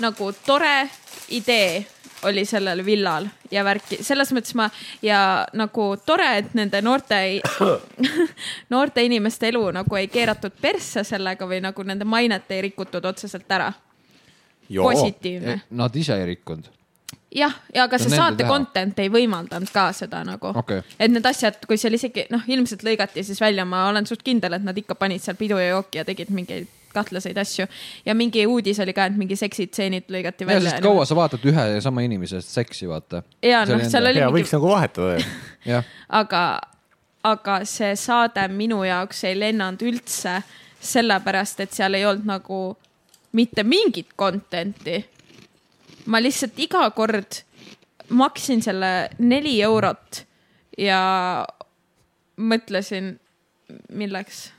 Speaker 2: nagu tore idee oli sellel villal ja värki , selles mõttes ma ja nagu tore , et nende noorte , noorte inimeste elu nagu ei keeratud persse sellega või nagu nende mainet ei rikutud otseselt ära . positiivne .
Speaker 4: Eh, nad ise ei rikkunud .
Speaker 2: jah , ja aga
Speaker 4: See on
Speaker 2: see
Speaker 4: nende
Speaker 2: saate
Speaker 4: teha.
Speaker 2: content ei võimaldanud ka seda nagu
Speaker 4: Okei.
Speaker 2: et need asjad , kui seal isegi noh , ilmselt lõigati siis välja , ma olen suht kindel , et nad ikka panid seal pidu ja jooki ja tegid mingeid kahtlaseid asju ja mingi uudis oli ka , et mingi seksitseenid lõigati
Speaker 4: ja ,
Speaker 2: välja
Speaker 4: sest . kaua sa vaatad ühe ja sama inimese eest seksi , vaata .
Speaker 2: ja noh , seal oli
Speaker 1: ja
Speaker 2: mingi
Speaker 1: võiks , nagu vahetada ju .
Speaker 4: jah ,
Speaker 2: aga , aga see saade minu jaoks ei lennanud üldse sellepärast , et seal ei olnud nagu mitte mingit content'i . ma lihtsalt iga kord maksin selle neli eurot ja mõtlesin , milleks .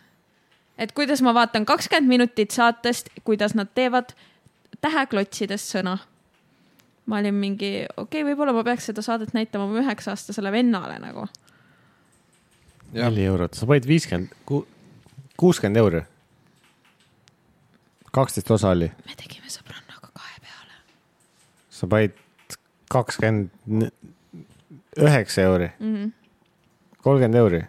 Speaker 2: et kuidas ma vaatan kakskümmend minutit saatest , kuidas nad teevad täheklotsidest sõna . ma olin mingi , okei okay, , võib-olla ma peaks seda saadet näitama oma üheksa-aastasele vennale nagu .
Speaker 4: jah ,
Speaker 1: neli eurot , sa panid viiskümmend , kuuskümmend euri . kaksteist osa oli ,
Speaker 2: me tegime sõbrannaga kahe peale .
Speaker 1: sa panid kakskümmend üheksa euri ,
Speaker 2: Mhm.
Speaker 1: kolmkümmend euri .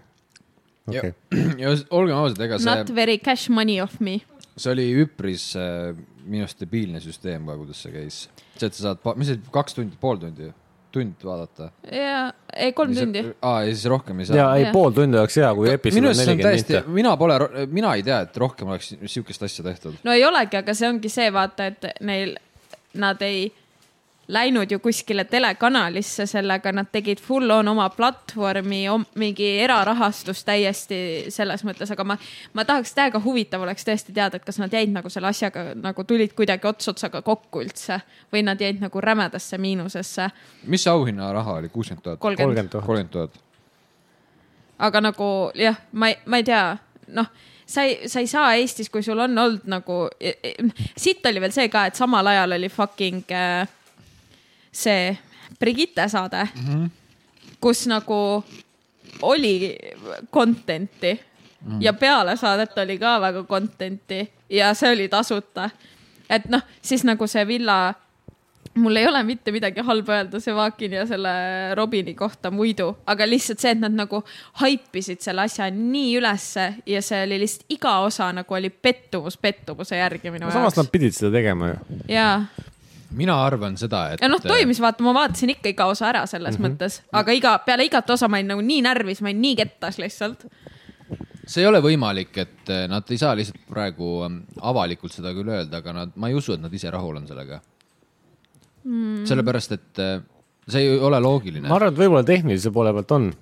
Speaker 1: okei ,
Speaker 4: (clears throat) ja s- olgem ausad , ega
Speaker 2: Not
Speaker 4: see ,
Speaker 2: very cash money of me .
Speaker 4: see oli üpris äh, minu arust debiilne süsteem ka , kuidas see käis . see , et sa saad , mis see , kaks tundi , pool tundi , tund vaadata .
Speaker 2: ja , ei kolm tundi .
Speaker 4: aa , ja siis rohkem ei saa .
Speaker 1: ja ei
Speaker 2: Jah.
Speaker 1: pool tundi oleks hea , kui episood
Speaker 4: minu
Speaker 1: on
Speaker 4: arust see on
Speaker 1: nelikümmend
Speaker 4: täiesti
Speaker 1: minutit .,
Speaker 4: mina pole , mina ei tea , et rohkem oleks sihukest asja tehtud .
Speaker 2: no ei olegi , aga see ongi see , vaata , et neil , nad ei läinud ju kuskile telekanalisse sellega , nad tegid full on oma platvormi , mingi erarahastus täiesti selles mõttes , aga ma , ma tahaks täiega huvitav oleks tõesti teada , et kas nad jäid nagu selle asjaga nagu tulid kuidagi ots otsaga kokku üldse või nad jäid nagu rämedasse miinusesse .
Speaker 4: mis see auhinnaraha oli , kuuskümmend tuhat ?
Speaker 2: kolmkümmend
Speaker 1: kolmkümmend tuhat .
Speaker 4: kolmkümmend tuhat .
Speaker 2: aga nagu jah , ma ei , ma ei tea , noh , sa ei , sa ei saa Eestis , kui sul on olnud nagu , siit oli veel see ka , et samal ajal oli fucking äh, see Brigitte saade mm , -hmm. kus nagu oli content'i mm -hmm. ja peale saadet oli ka väga content'i ja see oli tasuta . et noh , siis nagu see villa mul ei ole mitte midagi halba öelda Sevakin ja selle Robini kohta muidu , aga lihtsalt see , et nad nagu haipisid selle asja nii ülesse ja see oli lihtsalt iga osa nagu oli pettumus pettumuse järgi minu
Speaker 1: samas nad
Speaker 2: jaoks .
Speaker 1: pidid seda tegema ju .
Speaker 2: jaa ,
Speaker 4: mina arvan seda , et .
Speaker 2: ja
Speaker 1: äh,
Speaker 2: noh , toimis , vaata , ma vaatasin ikka iga osa ära selles mm
Speaker 1: Mhm.
Speaker 2: -hmm. mõttes , aga iga , peale igat osa ma olin nagu nii närvis , ma olin nii kettas lihtsalt .
Speaker 4: see ei ole võimalik , et eh, nad ei saa lihtsalt praegu ähm, avalikult seda küll öelda , aga nad , ma ei usu , et nad ise rahul on sellega mm. . sellepärast , et eh, see ei ole loogiline
Speaker 1: ma . arvan , et võib-olla tehnilise poole pealt on .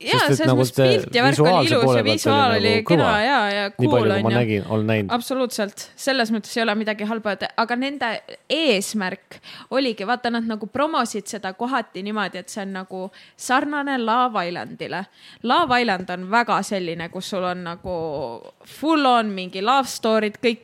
Speaker 2: ja
Speaker 1: Sest et
Speaker 2: selles
Speaker 1: nagu
Speaker 2: mõttes
Speaker 1: see
Speaker 2: pilt ja värk oli
Speaker 1: visuaalse
Speaker 2: ilus
Speaker 1: poole
Speaker 2: ja
Speaker 1: pealt
Speaker 2: visuaal
Speaker 1: oli
Speaker 2: oli
Speaker 1: nagu
Speaker 2: kena
Speaker 1: kõva.
Speaker 2: ja , ja
Speaker 1: nii
Speaker 2: cool
Speaker 1: palju , kui ma
Speaker 2: onju
Speaker 1: nägin , olen näinud .
Speaker 2: absoluutselt , selles mõttes ei ole midagi halba , aga nende eesmärk oligi , vaata , nad nagu promosid seda kohati niimoodi , et see on nagu sarnane Love Islandile . Love Island on väga selline , kus sul on nagu full on mingi love story'd , kõik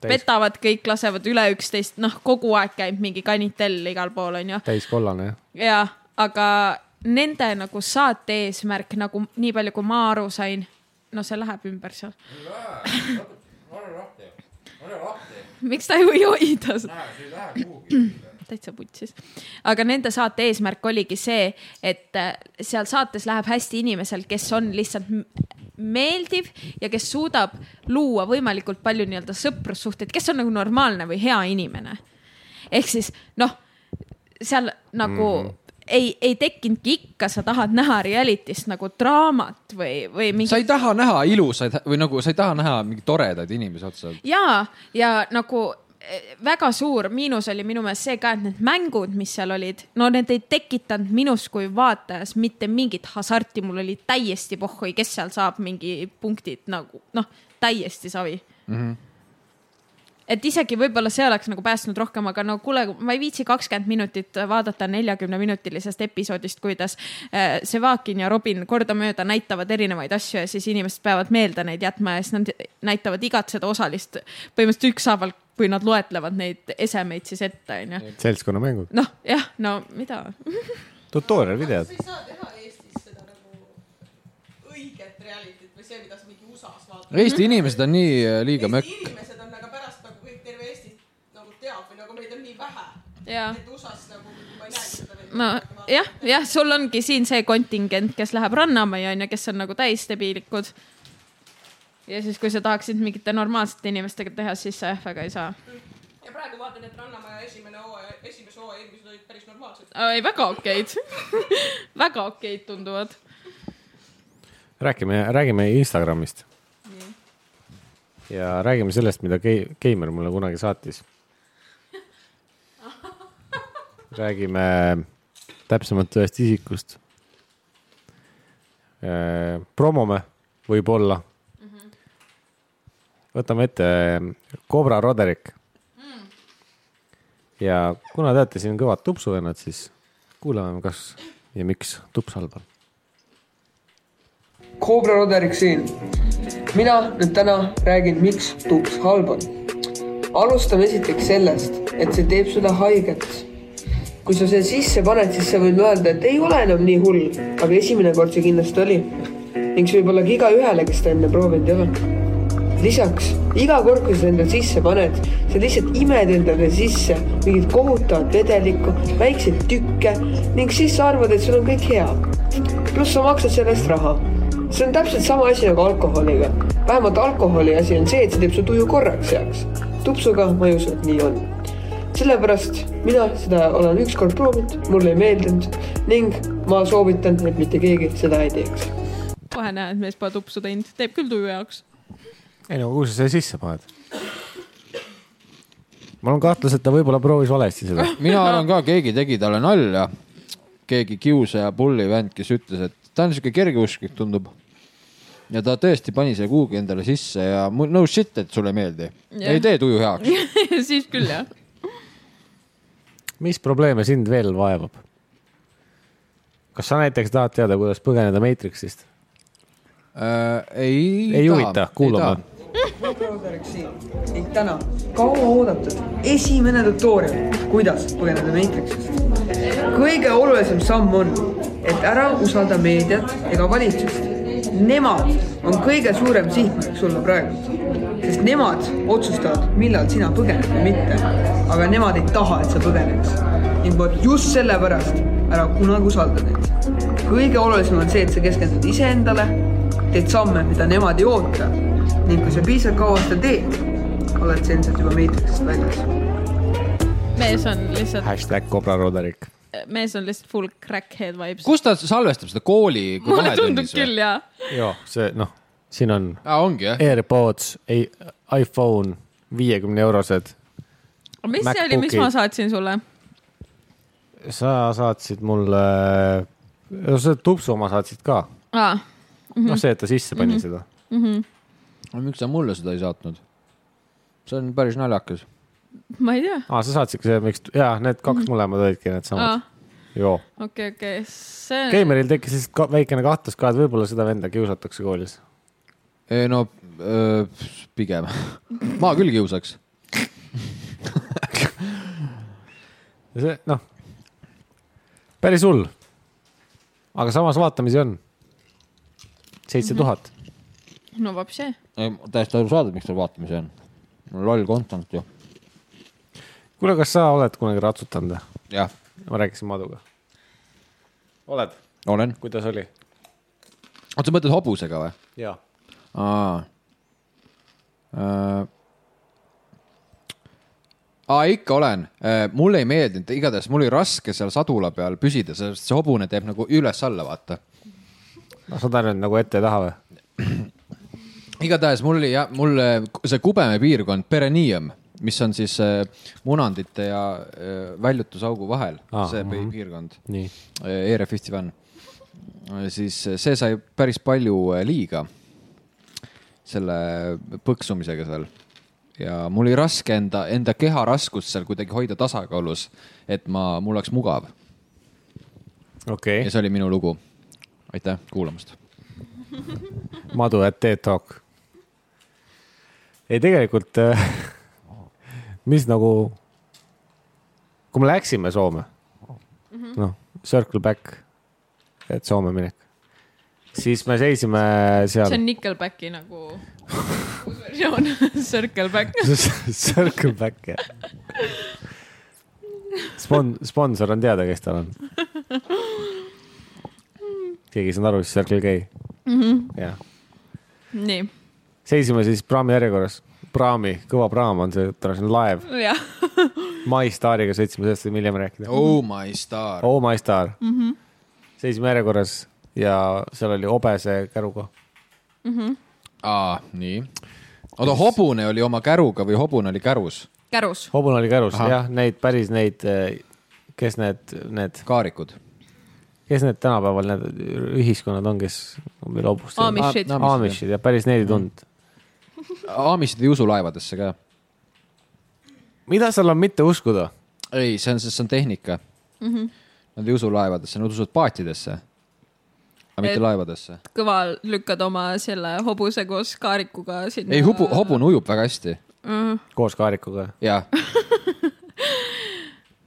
Speaker 1: Täis-
Speaker 2: petavad , kõik lasevad üle üksteist , noh , kogu aeg käib mingi kanitell igal pool onju .
Speaker 1: täiskollane jah .
Speaker 2: ja , aga nende nagu saate eesmärk nagu nii palju , kui ma aru sain , no see läheb ümber seal . miks ta ju ei hoida seda ? (clears throat) täitsa putsis . aga nende saate eesmärk oligi see , et äh, seal saates läheb hästi inimesel , kes on lihtsalt m- meeldiv ja kes suudab luua võimalikult palju nii-öelda sõprussuhteid , kes on nagu normaalne või hea inimene . ehk siis noh , seal nagu mm -hmm ei , ei tekkinudki ikka , sa tahad näha reality'st nagu draamat või , või mingit
Speaker 4: sa ei taha näha ilusaid või nagu sa ei taha näha mingeid toredaid inimesi otsa .
Speaker 2: ja , ja nagu eh, väga suur miinus oli minu meelest see ka , et need mängud , mis seal olid , no need ei tekitanud minus kui vaatajas mitte mingit hasarti , mul oli täiesti pohhui , kes seal saab mingi punktid nagu noh , täiesti savi mm . -hmm. et isegi võib-olla see oleks nagu päästnud rohkem , aga no kuule , ma ei viitsi kakskümmend minutit vaadata neljakümne minutilisest episoodist , kuidas eh, Sevakin ja Robin kordamööda näitavad erinevaid asju ja siis inimesed peavad meelde neid jätma ja siis nad näitavad igat seda osalist põhimõtteliselt ükshaaval , kui nad loetlevad neid esemeid siis ette onju .
Speaker 1: seltskonnamängud ,
Speaker 2: noh , jah , no mida
Speaker 1: tutorial videod .
Speaker 5: ei saa teha Eestis seda . või see , mida sa mingi USA-s vaatad .
Speaker 4: Eesti inimesed on nii äh, liiga mökk .
Speaker 5: Eesti inimesed on aga pärast nagu kõik terve Eesti nagu teab või nagu meid on nii vähe ,
Speaker 2: jaa
Speaker 5: et USA-s nagu ma ei näegi seda veel .
Speaker 2: nojah , jah , sul ongi siin see kontingent , kes läheb rannamajja onju , kes on nagu täis debiilikud . ja siis , kui sa tahaksid mingite normaalsete inimestega teha , siis sa jah väga ei saa .
Speaker 5: ja praegu vaatan , et Rannamaja esimene hooaja , esimese hooaja eelmised olid päris normaalsed .
Speaker 2: ei , väga okeid . (laughs) väga okeid tunduvad .
Speaker 1: räägime , räägime Instagramist . ja räägime sellest , mida Kei- Keimer mulle kunagi saatis . räägime täpsemalt ühest isikust . promome võib-olla . võtame ette äh, Cobra Roderick . ja kuna te olete siin kõvad tupsuvennad , siis kuulame , kas ja miks tups halb on .
Speaker 6: Cobra Roderick siin . mina nüüd täna räägin , miks tups halb on . alustame esiteks sellest , et see teeb sulle haiget . kui sa selle sisse paned , siis sa võid mõelda , et ei ole enam nii hull , aga esimene kord see kindlasti oli . ning see võib olla ka igaühele , kes ta enne proovinud ei ole . lisaks iga kord , kui sa endale sisse paned , sa lihtsalt imed endale sisse mingit kohutavat vedelikku , väikseid tükke ning siis sa arvad , et sul on kõik hea pluss sa maksad selle eest raha . see on täpselt sama asi nagu alkoholiga . vähemalt alkoholi asi on see , et see teeb su tuju korraks heaks . tupsuga ma ei usu , et nii on . sellepärast mina seda olen ükskord proovinud , mulle ei meeldinud ning ma soovitan , et mitte keegi seda ei teeks .
Speaker 2: kohe näed , mees pole tupsu teinud , teeb küll tuju jaoks . (laughs)
Speaker 1: ei no kuhu sa selle sisse paned ? mul on kahtlus , et ta võib-olla proovis valesti seda .
Speaker 4: mina arvan ka , keegi tegi talle nalja . keegi kiusaja pulli vend , kes ütles , et ta on siuke kergeusklik , tundub . ja ta tõesti pani selle kuhugi endale sisse ja mu- no shit , et sulle ei meeldi .
Speaker 2: Jah.
Speaker 4: ei tee tuju heaks .
Speaker 2: siis küll jah .
Speaker 1: mis probleeme sind veel vaevab ? kas sa näiteks tahad teada , kuidas põgeneda Matrixist ?
Speaker 4: Äh, ei .
Speaker 1: ei huvita , kuulame .
Speaker 6: Cobra Roderick siin ning täna kauaoodatud esimene tutorial , kuidas põgeneda Matrixist . kõige olulisem samm on , et ära usalda meediat ega valitsust . Nemad on kõige suurem sihtmärk sulle praegu , sest nemad otsustavad , millal sina põgened või mitte . aga nemad ei taha , et sa põgeneks ning vot just sellepärast ära kunagi usalda neid . kõige olulisem on see , et sa keskendud iseendale teed samme , mida nemad ei oota ning kui sa piisavalt kaua seda teed , oled sa ilmselt juba meetriksest väljas .
Speaker 2: mees on lihtsalt ,
Speaker 1: hashtag Cobra Roderick .
Speaker 2: mees on lihtsalt full crackhead vibes .
Speaker 4: kus ta salvestab seda kooli ?
Speaker 2: mulle tundub . küll jaa .
Speaker 1: joo , see noh , siin on
Speaker 4: aa , ongi jah ?
Speaker 1: AirPods , iPhone , viiekümne eurosed .
Speaker 2: aga mis see oli , mis
Speaker 1: MacBooki.
Speaker 2: ma saatsin sulle ?
Speaker 1: sa saatsid mulle , no sa tupsu oma saatsid ka ,
Speaker 2: aa ,
Speaker 1: noh , see , et ta sisse pani seda .
Speaker 4: miks sa mulle seda ei saatnud ? see on päris naljakas .
Speaker 2: ma ei tea .
Speaker 1: aa , Ah, sa saatsid ka see , miks , jaa , need kaks mõlemad olidki
Speaker 2: aa
Speaker 1: needsamad ,, joo
Speaker 2: okei , okei ,
Speaker 1: (laughs)
Speaker 2: see .
Speaker 1: Keimeril tekkis lihtsalt ka väikene kahtlus ka , et võib-olla seda venda kiusatakse koolis .
Speaker 4: ei no , pigem . (laughs) ma küll kiusaks .
Speaker 1: ja see , noh , päris hull . aga samas vaatamisi on . seitse tuhat .
Speaker 2: no vapsi .
Speaker 4: täiesti arusaadav , miks tal vaatamisi on . loll content ju .
Speaker 1: kuule , kas sa oled kunagi ratsutanud ?
Speaker 4: jah ,
Speaker 1: ma rääkisin Maduga . oled ?
Speaker 4: olen .
Speaker 1: kuidas oli ?
Speaker 4: oota , sa mõtled hobusega või ?
Speaker 1: jaa .
Speaker 4: aa . aa , ikka olen . mulle ei meeldinud , igatahes mul oli raske seal sadula peal püsida , sellepärast see hobune teeb nagu üles-alla , vaata .
Speaker 1: no sa tahad nüüd nagu ette ja taha või ?
Speaker 4: igatahes mul oli jah , mul äh, see Kubeme piirkond , Perenium , mis on siis äh, munandite ja äh, väljutusaugu vahel
Speaker 1: Aa,
Speaker 4: ah, , see mm -hmm. piirkond .
Speaker 1: nii .
Speaker 4: ERF-ist fänn , siis see sai päris palju liiga selle põksumisega seal . ja mul oli raske enda , enda keha raskust seal kuidagi hoida tasakaalus , et ma , mul oleks mugav
Speaker 1: okei
Speaker 4: ja
Speaker 1: okay. ,
Speaker 4: see oli minu lugu . aitäh kuulamast .
Speaker 1: Madu at TED Talk . ei , tegelikult , (laughs) mis nagu , kui me läksime Soome , noh , circle back , et Soome minek , siis me seisime
Speaker 2: see
Speaker 1: seal
Speaker 2: on Nickelbacki nagu uus versioon , (laughs) Circle Back .
Speaker 1: (laughs) Circle back , jah . Spon- , sponsor on teada , kes tal on . keegi ei saanud aru , siis Circle K . jah ,
Speaker 2: nii ,
Speaker 1: seisime siis praami järjekorras , praami , kõva praam on see , tal on laev ,
Speaker 2: jah .
Speaker 1: MyStariga sõitsime , sellest võime hiljem rääkida .
Speaker 4: oh my star .
Speaker 1: Oh my star mm . -hmm. seisime järjekorras ja seal oli hobese käruga .
Speaker 4: aa , nii . oota , hobune oli oma käruga või hobune oli kärus ?
Speaker 2: kärus ,
Speaker 1: hobune oli kärus ,
Speaker 4: Ahah.
Speaker 1: jah , neid päris neid , kes need , need ,
Speaker 4: kaarikud .
Speaker 1: kes need tänapäeval need ühiskonnad on , kes on meil hobust .
Speaker 2: Amishid.
Speaker 4: Am- Amishid,
Speaker 1: Amishid ja päris neid ei tundnud .
Speaker 4: Amishid ei usu laevadesse ka .
Speaker 1: mida seal on mitte uskuda ?
Speaker 4: ei , see on , see on tehnika mm .
Speaker 2: Mhm.
Speaker 4: -hmm. Nad ei usu laevadesse , nad usuvad paatidesse . aga mitte
Speaker 2: Et-
Speaker 4: Et... laevadesse .
Speaker 2: kõva lükkad oma selle hobuse koos kaarikuga sinna .
Speaker 4: ei , hobu , hobune ujub väga hästi .
Speaker 1: koos kaarikuga .
Speaker 4: jah ,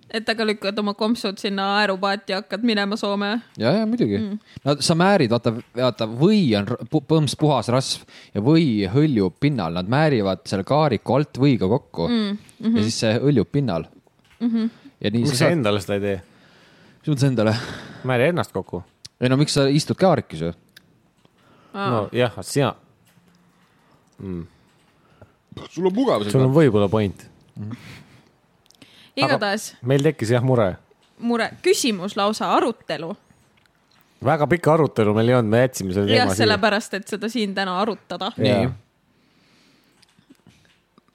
Speaker 2: et aga lükkad oma kompsud sinna aerupaati ja hakkad minema Soome .
Speaker 4: ja , ja muidugi mm. . no sa määrid , vaata , vaata , või on r- pu- põms puhas rasv ja või hõljub pinnal , nad määrivad selle kaariku alt võiga kokku mm .
Speaker 2: mhm.
Speaker 4: -hmm. ja siis see hõljub pinnal mm . -hmm. ja nii
Speaker 1: miks
Speaker 4: sa
Speaker 1: sa
Speaker 4: saad ,
Speaker 1: endale seda ei tee ?
Speaker 4: mis mõttes endale ?
Speaker 1: määri ennast kokku .
Speaker 4: ei no miks sa istud kaarikis ju ?
Speaker 1: nojah , sina ,
Speaker 4: sul on mugavus
Speaker 1: sul on võib-olla point .
Speaker 2: igatahes
Speaker 1: meil tekkis jah mure .
Speaker 2: mure , küsimus lausa , arutelu .
Speaker 1: väga pikka arutelu meil ei olnud , me jätsime selle
Speaker 2: jah ,
Speaker 1: teema
Speaker 2: sellepärast , et seda siin täna arutada .
Speaker 1: Jaa.
Speaker 4: nii .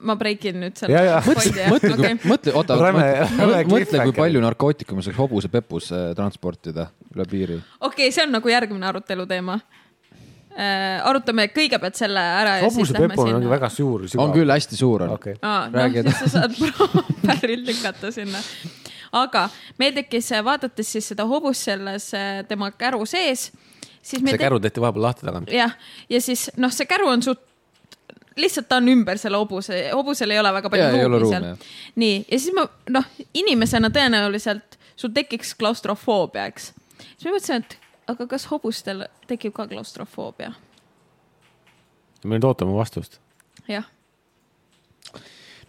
Speaker 2: ma break in nüüd
Speaker 1: Ja,
Speaker 2: selle
Speaker 1: ja.
Speaker 2: pointi jah ,
Speaker 4: mõtle
Speaker 2: okei
Speaker 4: okay. ,. mõtle , oota ,
Speaker 1: Räme- räme
Speaker 4: mõtle , mõtle ,
Speaker 1: cliffhanger.
Speaker 4: kui palju narkootikume saaks hobuse pepus eh, transportida üle piiri .
Speaker 2: okei , see on nagu järgmine arutelu teema . arutame kõigepealt selle ära ja siis
Speaker 1: hobuse
Speaker 2: lähme
Speaker 1: pepu on nagu mingi
Speaker 2: sinna .
Speaker 1: väga suur , sügav .
Speaker 4: on küll , hästi suur on
Speaker 1: okei .
Speaker 2: aa , noh ,
Speaker 4: Räägi
Speaker 2: siis sa saad (laughs) päril lükata sinna . aga meil tekkis , vaadates siis seda hobust selles äh, tema käru sees , siis meil
Speaker 1: see käru tehti vahepeal lahti tagant .
Speaker 2: jah , ja siis noh , see käru on suht , lihtsalt ta on ümber selle hobuse , hobusel ei ole väga palju
Speaker 4: Jaa, ei ole
Speaker 2: ruumi
Speaker 4: ruumi,
Speaker 2: seal
Speaker 4: jah. .
Speaker 2: nii , ja siis ma noh , inimesena tõenäoliselt sul tekiks klaustrofoobia , eks . siis ma mõtlesin , et aga kas hobustel tekib ka klaustrofoobia ?
Speaker 1: me nüüd ootame vastust .
Speaker 2: jah ,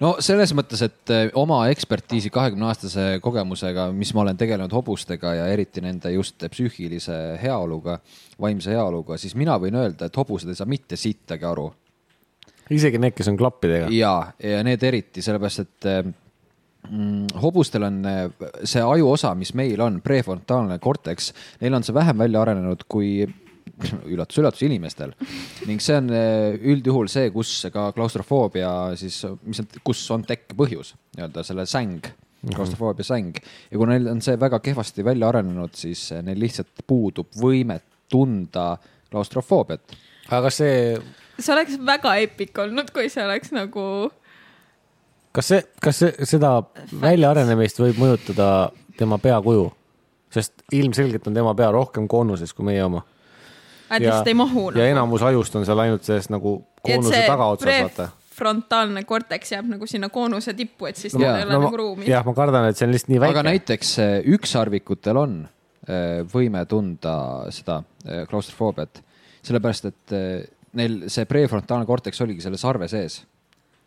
Speaker 4: no selles mõttes , et eh, oma ekspertiisi kahekümne aastase kogemusega , mis ma olen tegelenud hobustega ja eriti nende just psüühilise heaoluga , vaimse heaoluga , siis mina võin öelda , et hobused ei saa mitte sittagi aru
Speaker 1: isegi need , kes on klappidega .
Speaker 4: ja , ja need eriti sellepärast , et mm, hobustel on eh, see ajuosa , mis meil on , prefrontaalne korteks , neil on see vähem välja arenenud kui (laughs) üllatus-üllatus inimestel ning see on eh, üldjuhul see , kus ka klaustrofoobia siis , mis , kus on tekke põhjus nii-öelda selle säng , klaustrofoobia säng ja kui neil on see väga kehvasti välja arenenud , siis eh, neil lihtsalt puudub võimet tunda klaustrofoobiat
Speaker 1: aga kas see ,
Speaker 2: see oleks väga epic olnud , kui see oleks nagu
Speaker 1: kas see , kas see , seda väljaarenemist võib mõjutada tema peakuju ? sest ilmselgelt on tema pea rohkem koonuses kui meie oma .
Speaker 2: et lihtsalt ei mahu nagu. noh.
Speaker 1: ja . enamus ajust on seal ainult selles nagu koonuse tagaotsas , vaata .
Speaker 2: frontaalne korteks jääb nagu sinna koonuse tippu , et siis no, tal ei ole no, nagu ruumi .
Speaker 1: jah , ma kardan , et see on lihtsalt nii
Speaker 4: aga
Speaker 1: väike .
Speaker 4: näiteks eh, ükssarvikutel on eh, võime tunda seda eh, klaustrofoobiat , sellepärast et eh, neil see prefrontaalne korteks oligi selle sarve sees .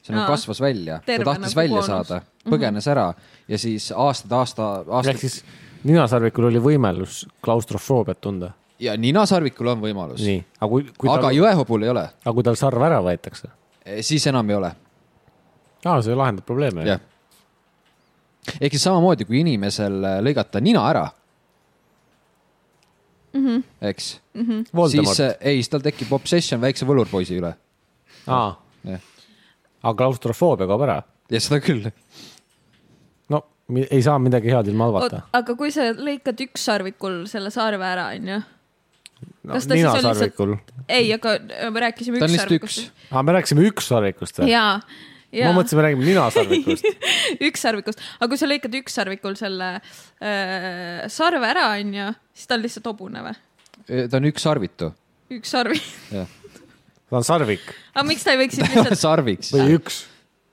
Speaker 4: see nagu
Speaker 2: Aa.
Speaker 4: kasvas välja , ta
Speaker 2: Terve
Speaker 4: tahtis
Speaker 2: nagu
Speaker 4: välja
Speaker 2: koonus.
Speaker 4: saada , põgenes ära ja siis aastad , aasta ,
Speaker 1: ehk
Speaker 4: aastad
Speaker 1: siis ninasarvikul oli võimalus klaustrofoobiat tunda .
Speaker 4: ja ninasarvikul on võimalus ,
Speaker 1: nii , aga kui , kui
Speaker 4: aga
Speaker 1: tal ,
Speaker 4: jõehobul ei ole ,
Speaker 1: aga kui tal sarv ära võetakse ?
Speaker 4: siis enam ei ole
Speaker 1: aa , see lahendab probleeme .
Speaker 4: jah . ehk siis samamoodi , kui inimesel eh, lõigata nina ära mm . -hmm. eks mm . -hmm. siis
Speaker 1: Voldemort ,
Speaker 4: eh, ei , siis tal tekib obsession väikse võlurpoisi üle .
Speaker 1: aa ,
Speaker 4: äh, jah ,
Speaker 1: aga klaustrofoobia kaob ära
Speaker 4: ja seda küll .
Speaker 1: no mi- ei saa midagi head ilma halvata .
Speaker 2: aga kui sa lõikad ükssarvikul selle sarve ära , onju .
Speaker 1: no,
Speaker 2: kas ta siis on
Speaker 1: ninasarvikul lihtsalt... .
Speaker 2: ei , aga äh, me rääkisime
Speaker 4: ta on lihtsalt üks
Speaker 2: ükssarvikust ..
Speaker 1: aa , me rääkisime ükssarvikust või ?
Speaker 2: jaa ,
Speaker 1: ma
Speaker 2: jaa ,
Speaker 1: mõtlesin , me räägime
Speaker 2: (laughs)
Speaker 1: ninasarvikust .
Speaker 2: ükssarvikust , aga kui sa lõikad ükssarvikul selle äh, sarve ära , onju , siis ta on lihtsalt hobune või ?
Speaker 4: Äh, ta on ükssarvitu .
Speaker 2: ükssarvi ,
Speaker 1: ta on sarvik
Speaker 2: (laughs) aga miks ta ei võiks siis
Speaker 4: ta ei ole
Speaker 2: lihtsalt ,
Speaker 4: (laughs) sarviks ,
Speaker 1: või üks .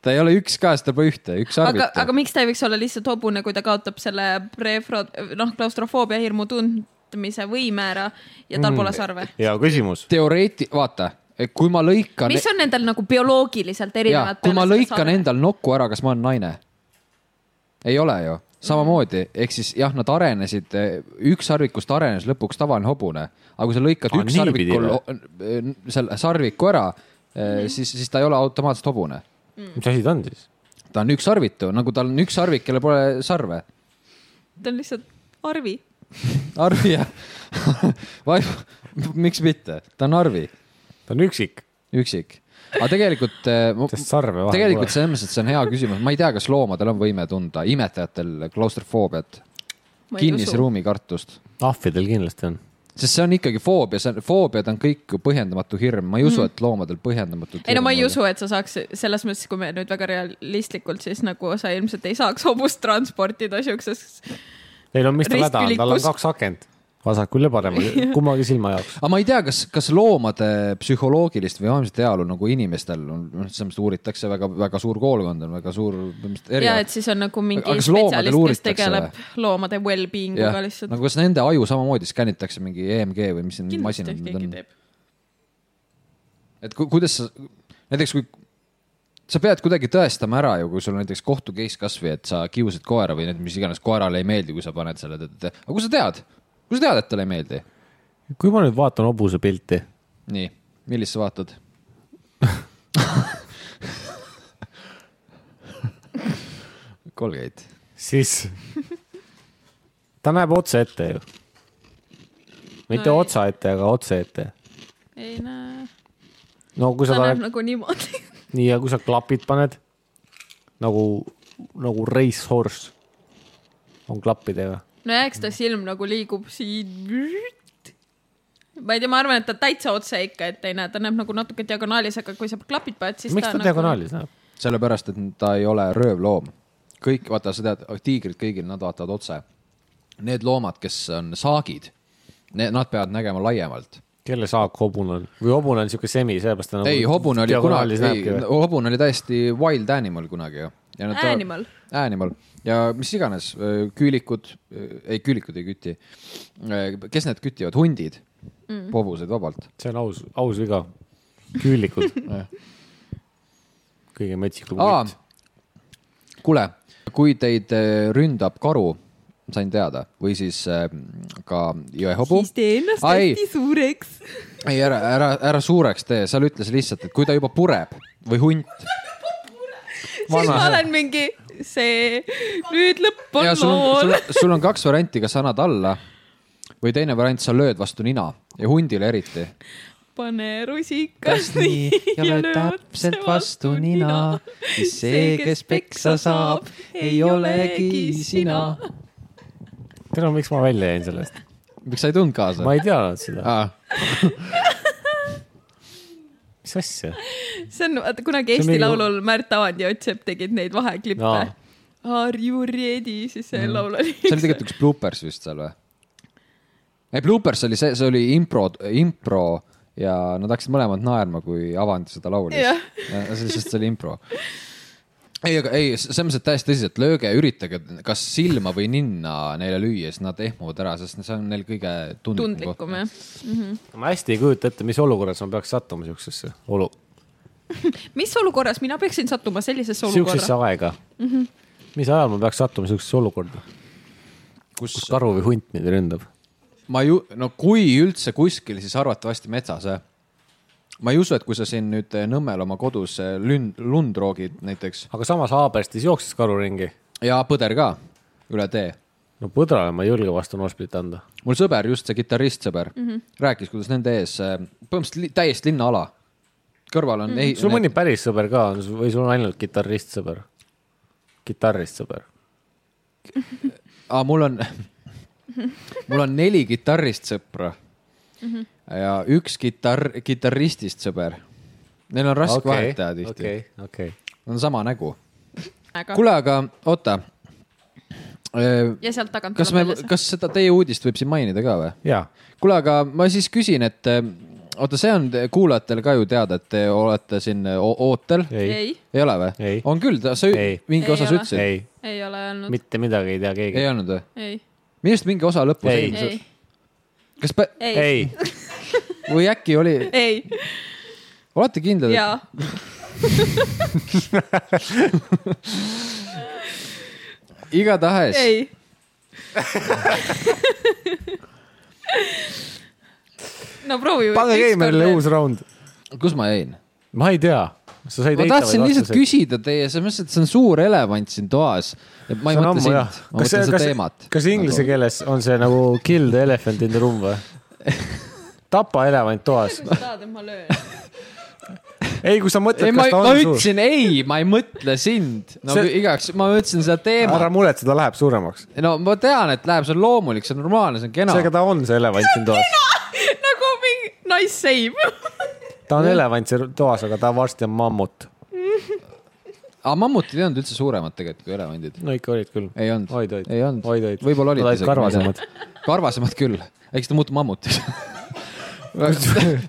Speaker 4: ta ei ole üks ka , siis ta pole ühte , üks
Speaker 2: aga ,
Speaker 4: sarvitu
Speaker 2: aga . miks ta ei võiks olla lihtsalt hobune , kui ta kaotab selle prefro- , noh , klaustrofoobia hirmu tund- võtmise võimäära ja
Speaker 1: Mm.
Speaker 2: tal pole sarve .
Speaker 1: hea küsimus .
Speaker 4: teoreeti- , vaata , kui ma lõikan .
Speaker 2: mis on nendel nagu bioloogiliselt erinevad ?
Speaker 4: kui ma lõikan endal nokku ära , kas ma olen naine ? ei ole ju , samamoodi , ehk siis jah , nad arenesid , üks sarvikust arenes lõpuks tavaline hobune , aga kui sa lõikad
Speaker 1: Aa,
Speaker 4: üks
Speaker 1: niipidi
Speaker 4: sarvikul selle sarviku ära ,
Speaker 2: Mhm.
Speaker 4: siis , siis ta ei ole automaatselt hobune .
Speaker 2: Mm.
Speaker 1: mis asi ta on siis ?
Speaker 4: ta on ükssarvitu , nagu tal on üks sarvik , kellel pole sarve .
Speaker 2: ta on lihtsalt arvi .
Speaker 4: arvi (laughs) jah , miks mitte , ta on arvi ,
Speaker 1: ta on üksik ,
Speaker 4: üksik , aga tegelikult eh, mu-
Speaker 1: sest sarve vahel
Speaker 4: tegelikult selles mõttes , et see on hea küsimus , ma ei tea , kas loomadel on võime tunda imetajatel klaustrofoobiat , kinnisruumi kartust ,
Speaker 1: pole . ahvidel kindlasti on .
Speaker 4: sest see on ikkagi foobia , see on , foobiad on kõik ju põhjendamatu hirm , ma ei usu , et loomadel põhjendamatut .
Speaker 2: Mhm. ei no ma ei usu , et sa saaks selles mõttes , kui me nüüd väga realistlikult , siis nagu sa ilmselt ei saaks hobust transportida siukseks .
Speaker 1: ei no mis tal häda on , tal on
Speaker 2: Ristkülikus.
Speaker 1: kaks akent , vasakul ja
Speaker 2: (laughs)
Speaker 1: paremal , kummagi silma jaoks .
Speaker 4: aga ma ei tea , kas , kas loomade psühholoogilist või vaimset heaolu nagu inimestel on , noh , selles mõttes uuritakse väga , väga suur koolkond on väga suur .
Speaker 2: ja et siis on nagu
Speaker 4: Aga
Speaker 2: mingi
Speaker 4: kas loomadel
Speaker 2: spetsialist , kes
Speaker 4: uuritakse
Speaker 2: tegeleb loomade well-being uga
Speaker 4: jah ,
Speaker 2: lihtsalt .
Speaker 4: nagu kas nende aju samamoodi skännitakse mingi EMG või mis need
Speaker 2: kindlasti
Speaker 4: masinad need
Speaker 2: keegi
Speaker 4: on ,
Speaker 2: teeb .
Speaker 4: et ku, kuidas sa , näiteks kui sa pead kuidagi tõestama ära ju , kui sul on näiteks kohtu case kasvõi , et sa kiusad koera või need , mis iganes koerale ei meeldi , kui sa paned selle , aga kui sa tead , kui sa tead , et talle ei meeldi ,
Speaker 1: kui ma nüüd vaatan hobuse pilti ,
Speaker 4: nii , millist sa vaatad ? Colgate .
Speaker 1: siis (laughs) ta näeb otse ette ju . mitte
Speaker 2: No
Speaker 1: no
Speaker 2: ei.
Speaker 1: otsa ette , aga otse ette .
Speaker 2: ei näe ,
Speaker 1: no kui sa
Speaker 2: ta näeb
Speaker 1: paned ,
Speaker 2: nagu niimoodi . (laughs)
Speaker 1: nii ja kui sa klapid paned nagu , nagu racehorse on klappidega .
Speaker 2: no ja eks ta silm nagu liigub siin . ma ei tea , ma arvan , et ta täitsa otse ikka ette ei näe , ta näeb nagu natuke diagonaalis , aga kui sa klapid paned , siis
Speaker 1: miks ta
Speaker 2: nagu...
Speaker 1: diagonaalis näeb ?
Speaker 4: sellepärast , et ta ei ole röövloom . kõik , vaata , sa tead , tiigrid kõigil , nad vaatavad otse . Need loomad , kes on saagid , nad peavad nägema laiemalt
Speaker 1: kelle saak hobune on või hobune on siuke semi , sellepärast ta nagu
Speaker 4: ei , hobune oli kunagi
Speaker 1: diagonaalis ,
Speaker 4: ei
Speaker 1: näebki , või ?
Speaker 4: hobune oli täiesti wild animal kunagi ju .
Speaker 2: Animal. .
Speaker 4: Animal ja mis iganes , küülikud , ei küülikud ei küti . kes need kütivad , hundid mm. , hobused vabalt .
Speaker 1: see on aus , aus viga . (laughs) küülikud . kõige metsikum
Speaker 4: aa
Speaker 1: kutt .,
Speaker 4: kuule , kui teid eh, ründab karu , sain teada , või siis eh, ka jõehobu .
Speaker 2: siis tee ennast
Speaker 4: Ai.
Speaker 2: hästi suureks .
Speaker 4: ei , ära , ära , ära suureks tee , seal ütles lihtsalt , et kui ta juba pureb või hunt .
Speaker 2: siis ma olen mingi see , nüüd lõpp on
Speaker 4: ja sul on , sul
Speaker 2: lool .
Speaker 4: on , sul on kaks varianti , kas annad alla või teine variant , sa lööd vastu nina ja hundile eriti .
Speaker 2: pane rusikas nii ja löö täpselt vastu nina .
Speaker 3: siis see , kes peksa saab , ei olegi sina .
Speaker 1: tead , miks ma välja jäin sellest ?
Speaker 4: miks sa ei tulnud kaasa
Speaker 1: ma ? ei teadnud seda .
Speaker 4: Ah,
Speaker 1: mis asja ?
Speaker 2: see on , vaata kunagi
Speaker 1: See on
Speaker 2: Eesti
Speaker 1: mingi-
Speaker 2: Laulul Märt Avand ja Otsepp tegid neid vaheklippe
Speaker 1: Jaa.
Speaker 2: no. . Are you ready , siis see mm. laul oli .
Speaker 4: see oli tegelikult üks bloopers vist seal või ? ei , bloopers oli see , see oli impro , impro ja nad hakkasid mõlemad naerma , kui Avandi seda laulis
Speaker 2: Jah. .
Speaker 4: sest see oli impro . ei , aga ei , selles mõttes , et täiesti tõsiselt , lööge , üritage kas silma või ninna neile lüüa , siis nad ehmuvad ära , sest see on neil kõige tundlikum,
Speaker 2: (laughs) tundlikum
Speaker 4: koht .
Speaker 2: jah .
Speaker 1: ma hästi ei kujuta ette , mis olukorras ma peaks sattuma siuksesse olu ,
Speaker 2: mis olukorras mina peaksin sattuma sellisesse
Speaker 1: siuksesse
Speaker 2: olukorda ?
Speaker 1: aega mm . -hmm. mis ajal ma peaks sattuma siuksesse olukorda ,
Speaker 4: kus
Speaker 1: kus karu või hunt mind ründab ?
Speaker 4: ma ju , no kui üldse kuskil , siis arvatavasti metsas , jah . ma ei usu , et kui sa siin nüüd eh, Nõmmel oma kodus eh, lund , lund roogid näiteks
Speaker 1: aga samas Haaberstis jooksis karu ringi .
Speaker 4: ja põder ka üle tee .
Speaker 1: no põdrale ma ei julge vastu noorsplit anda .
Speaker 4: mul sõber , just see kitarrist sõber mm , -hmm. rääkis , kuidas nende ees , põhimõtteliselt li, täiesti linnaala , kõrval on mm -hmm.
Speaker 1: sul mõni päris sõber ka on või sul on ainult kitarrist sõber ? kitarrist sõber .
Speaker 4: aa , mul on , mul on neli kitarrist sõpra mm . -hmm. ja üks kitarr , kitarristist sõber . Neil on raske okay, vahet teha tihti okay. ,
Speaker 1: okei , okei .
Speaker 4: on sama nägu kuule , aga oota .
Speaker 2: ja sealt tagant
Speaker 4: kas me , kas seda teie uudist võib siin mainida ka või ?
Speaker 1: jaa ,
Speaker 4: kuule , aga ma siis küsin , et eh, oota , see on te- kuulajatele ka ju teada , et te olete siin äh, o- ootel .
Speaker 1: ei, ei. ,
Speaker 2: ei ,
Speaker 4: ei ole või
Speaker 1: Ei. ?
Speaker 4: on küll , sa ü-
Speaker 1: Ei.
Speaker 4: mingi
Speaker 2: Ei
Speaker 4: osa sa
Speaker 2: ole.
Speaker 4: ütlesid .
Speaker 1: ei ,
Speaker 2: ei ole olnud .
Speaker 1: mitte midagi ei tea keegi .
Speaker 4: ei olnud või ?
Speaker 2: ei ,
Speaker 4: minu arust mingi osa lõpus
Speaker 1: Ei.
Speaker 4: oli
Speaker 2: ei ,.
Speaker 4: kas pä- ,
Speaker 2: ei ,
Speaker 1: ei ,
Speaker 4: või äkki oli ,
Speaker 2: ei ,
Speaker 4: olete kindlad ,
Speaker 2: jaa .
Speaker 4: et igatahes
Speaker 2: ei , no proovi .
Speaker 1: pange Keimerile . uus round .
Speaker 4: kus ma jäin ?
Speaker 1: ma ei tea , sa said
Speaker 4: ma
Speaker 1: eitavaid
Speaker 4: tahtsin lihtsalt
Speaker 1: vastuseid.
Speaker 4: küsida teie , selles mõttes , et see on suur elevant siin toas . et ma ei
Speaker 1: See on
Speaker 4: mõtle
Speaker 1: ammu, jah.
Speaker 4: sind , ma
Speaker 1: Kas see-
Speaker 4: mõtlen seda
Speaker 1: kas-
Speaker 4: teemat .
Speaker 1: kas inglise keeles on see nagu kill the elephant in the room
Speaker 4: (laughs)
Speaker 1: või ? tapa elevant toas .
Speaker 2: sa tahad , et ma löön ?
Speaker 1: ei , kui sa mõtled ,
Speaker 4: ei , ma ,
Speaker 1: kas ta
Speaker 4: ma
Speaker 1: on suur ,
Speaker 4: ütlesin ei , ma ei mõtle sind , no
Speaker 1: See-
Speaker 4: see... igaks , ma ütlesin seda teemat
Speaker 1: ära . muretse , ta läheb suuremaks .
Speaker 4: no ma tean , et läheb , see on loomulik , see on normaalne , see on kena .
Speaker 1: seega ta on see elevant siin toas .
Speaker 2: nagu mingi nice save . (laughs)
Speaker 1: ta on elevant seal toas , aga ta varsti on mammut .
Speaker 4: aga mammutid ei olnud üldse suuremad tegelikult kui elevandid .
Speaker 1: no ikka olid küll .
Speaker 4: ei olnud .
Speaker 1: Oid, oid.
Speaker 4: ei olnud
Speaker 1: Oid, oid.
Speaker 4: võib-olla olid
Speaker 1: Nad olid karvasemad. .
Speaker 4: karvasemad küll , eks ta muutub mammutiks . (laughs)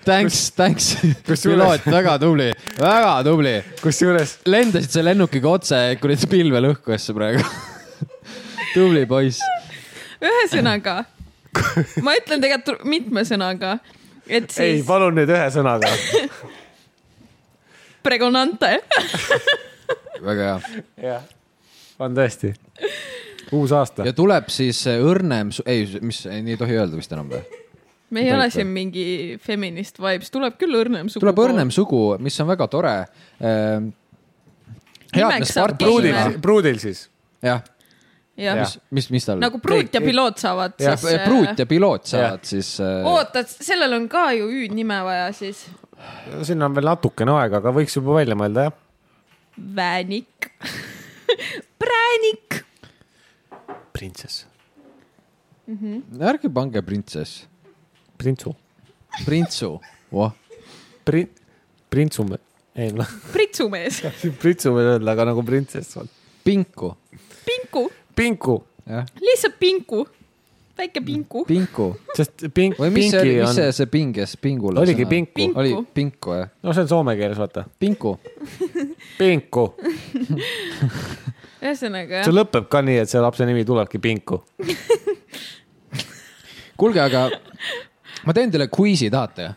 Speaker 4: Thanks , thanks ,
Speaker 1: Kusjuures-
Speaker 4: piloot , väga tubli , väga tubli .
Speaker 1: kusjuures
Speaker 4: lendasid selle lennukiga otse kuradi pilve lõhkuesse praegu . tubli poiss .
Speaker 2: ühesõnaga , ma ütlen tegelikult mitme sõnaga , et
Speaker 1: ei ,
Speaker 2: siis
Speaker 1: palun nüüd ühe
Speaker 4: (laughs)
Speaker 1: sõnaga .
Speaker 2: pregonante
Speaker 4: väga hea .
Speaker 1: on tõesti . uus aasta
Speaker 4: ja . tuleb siis õrnem , ei , mis , nii ei tohi öelda vist enam või ?
Speaker 2: me ei ole
Speaker 4: Tohib
Speaker 2: siin mingi feminist vibes , tuleb küll õrnem sugu .
Speaker 4: tuleb õrnem . sugu , mis on väga tore . headne
Speaker 2: Nimeks saab
Speaker 1: pruudil
Speaker 2: Keime.
Speaker 4: sportlased ,
Speaker 1: pruudil siis .
Speaker 4: jah ,
Speaker 2: jah ,
Speaker 1: Jah.
Speaker 4: mis , mis tal ?
Speaker 2: nagu pruut ja piloot saavad
Speaker 1: Jah,
Speaker 2: siis .
Speaker 4: pruut ja piloot saavad siis . äh,
Speaker 2: oota , sellel on ka ju hüüdnime vaja siis .
Speaker 1: sinna on veel natukene aega , aga võiks juba välja mõelda , jah .
Speaker 2: Väänik , präänik ,
Speaker 1: printsess .
Speaker 4: ärge pange printsess ,
Speaker 1: printsu .
Speaker 4: printsu . voh ,
Speaker 1: Prin- , printsume , ei (laughs) noh ,
Speaker 2: pritsumees ,
Speaker 1: printsume ei öelda , aga nagu printsess on .
Speaker 4: pinku ,
Speaker 2: pinku ,
Speaker 1: Pinku ,
Speaker 4: jah ,
Speaker 2: lihtsalt pinku , väike pinku ,
Speaker 4: pinku
Speaker 1: sest pink ,
Speaker 4: või mis see oli ,
Speaker 1: pinki
Speaker 4: mis
Speaker 1: on ,
Speaker 4: see , see pinges , pingul .
Speaker 1: oligi pinku ,
Speaker 2: Pink-
Speaker 4: oli pinku jah ,
Speaker 1: no see on soome keeles , vaata .
Speaker 4: pinku .
Speaker 1: Pinku , see
Speaker 2: ühesõnaga jah ,
Speaker 1: lõpeb ka nii , et see lapse nimi tulebki Pinku .
Speaker 4: kuulge , aga ma teen teile quiz'i , tahate ?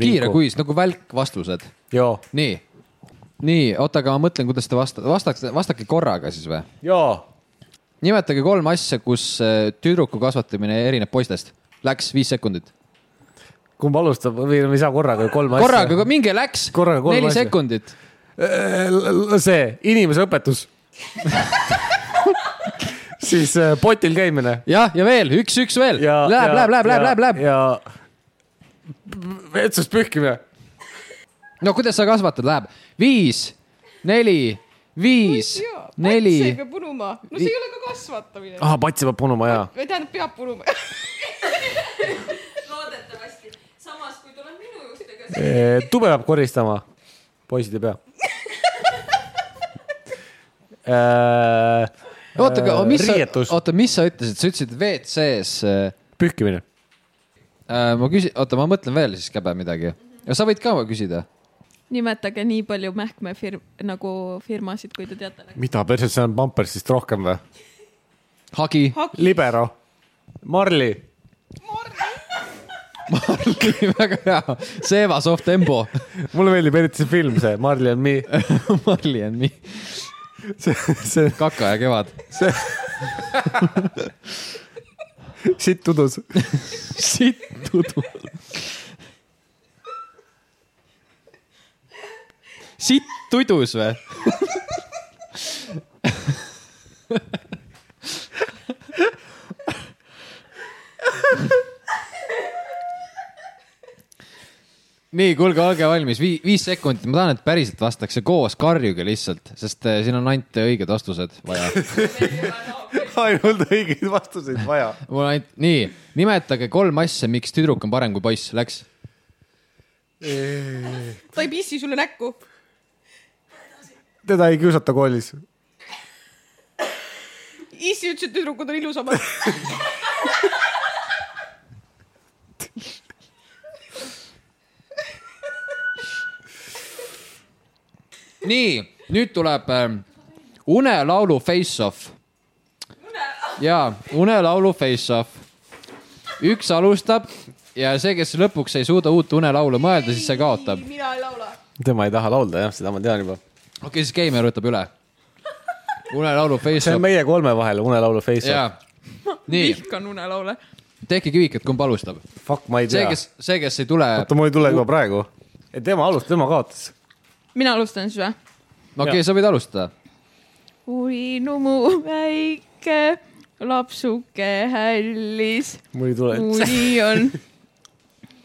Speaker 4: kiire
Speaker 1: Vinku.
Speaker 4: quiz nagu välkvastused ,
Speaker 1: joo ,
Speaker 4: nii , nii , oota , aga ma mõtlen , kuidas te vastate , vastake , vastake korraga siis või ?
Speaker 1: joo ,
Speaker 4: nimetage kolm asja , kus äh, tüdruku kasvatamine erineb poistest . Läks viis sekundit .
Speaker 1: kumb alustab või me ei saa korraga ju kolm
Speaker 4: korraga , minge läks .
Speaker 1: Korraga kolm
Speaker 4: neli
Speaker 1: asja.
Speaker 4: sekundit .
Speaker 1: asja . Äh, see (laughs) inimeseõpetus . siis äh, potil käimine .
Speaker 4: jah , ja veel üks , üks veel .
Speaker 1: ja ,
Speaker 4: Läheb , läheb , läheb , läheb , läheb , läheb .
Speaker 1: ja vetsust pühkimine .
Speaker 4: no kuidas sa kasvatad , läheb viis , neli , viis ,
Speaker 2: see
Speaker 4: neli .
Speaker 2: peab unuma , no see ei ole ka kasvatamine .
Speaker 1: ah , patsi peab punuma ja .
Speaker 2: või tähendab , peab puruma .
Speaker 5: loodetavasti . samas , kui tuleb minu juustega ,
Speaker 1: Eh, tube peab koristama , poisid ei pea .
Speaker 4: oota , aga mis sa ,
Speaker 1: Eh, riietus ,
Speaker 4: oota , mis sa ütlesid , sa ütlesid WC-s äh, .
Speaker 1: pühkimine ,
Speaker 4: Äh, ma küsin , oota , ma mõtlen veel siis käbe midagi . sa võid ka küsida .
Speaker 2: nimetage nii palju mähkmefirm- , nagu firmasid , kui te teate .
Speaker 1: mida päriselt , see on Pampersist rohkem või ?
Speaker 4: hagi . (laughs)
Speaker 1: libero , Marli ,
Speaker 4: väga hea . Seva soft tempo . (laughs)
Speaker 1: mulle meeldib eriti see film , see Marli and me ,
Speaker 4: Marli and me .
Speaker 1: (laughs) see , see
Speaker 4: kaka ja kevad .
Speaker 1: sitt udus .
Speaker 4: sitt tudu . sitt tudus või ? (laughs) nii , kuulge , olge valmis , viis sekundit , ma tahan , et päriselt vastaks ja koos karjuge lihtsalt , sest eh, siin on ainult õiged vastused vaja .
Speaker 1: ainult õigeid vastuseid vaja .
Speaker 4: mul on ainult , nii , nimetage kolm asja , miks tüdruk on parem kui poiss , läks
Speaker 2: ta ei pissi sulle näkku .
Speaker 1: teda ei kiusata koolis .
Speaker 2: issi ütles , et tüdrukud on ilusamad .
Speaker 4: nii , nüüd tuleb ähm, unelaulu Face-Off . ja unelaulu Face-Off . üks alustab ja see , kes lõpuks ei suuda uut unelaulu mõelda , siis see kaotab .
Speaker 5: mina ei laula .
Speaker 1: tema ei taha laulda jah , seda ma tean juba .
Speaker 4: okei okay, , siis Keimar võtab üle . unelaulu
Speaker 1: see on
Speaker 4: Face-Up .
Speaker 1: meie kolme vahel unelaulu face-up .
Speaker 4: jaa . nii ,
Speaker 2: vihkan unelaule .
Speaker 4: tehke kivikat , kumb alustab .
Speaker 1: Fuck , ma ei
Speaker 4: see ,
Speaker 1: tea .
Speaker 4: kes , see , kes ei tule .
Speaker 1: oota , mul ei tule juba praegu . tema alustas , tema kaotas .
Speaker 2: mina alustan siis või ?
Speaker 4: okei okay, , sa võid alustada .
Speaker 2: uinu mu väike lapsuke hällis ,
Speaker 1: mul ei tule üldse .
Speaker 2: uni on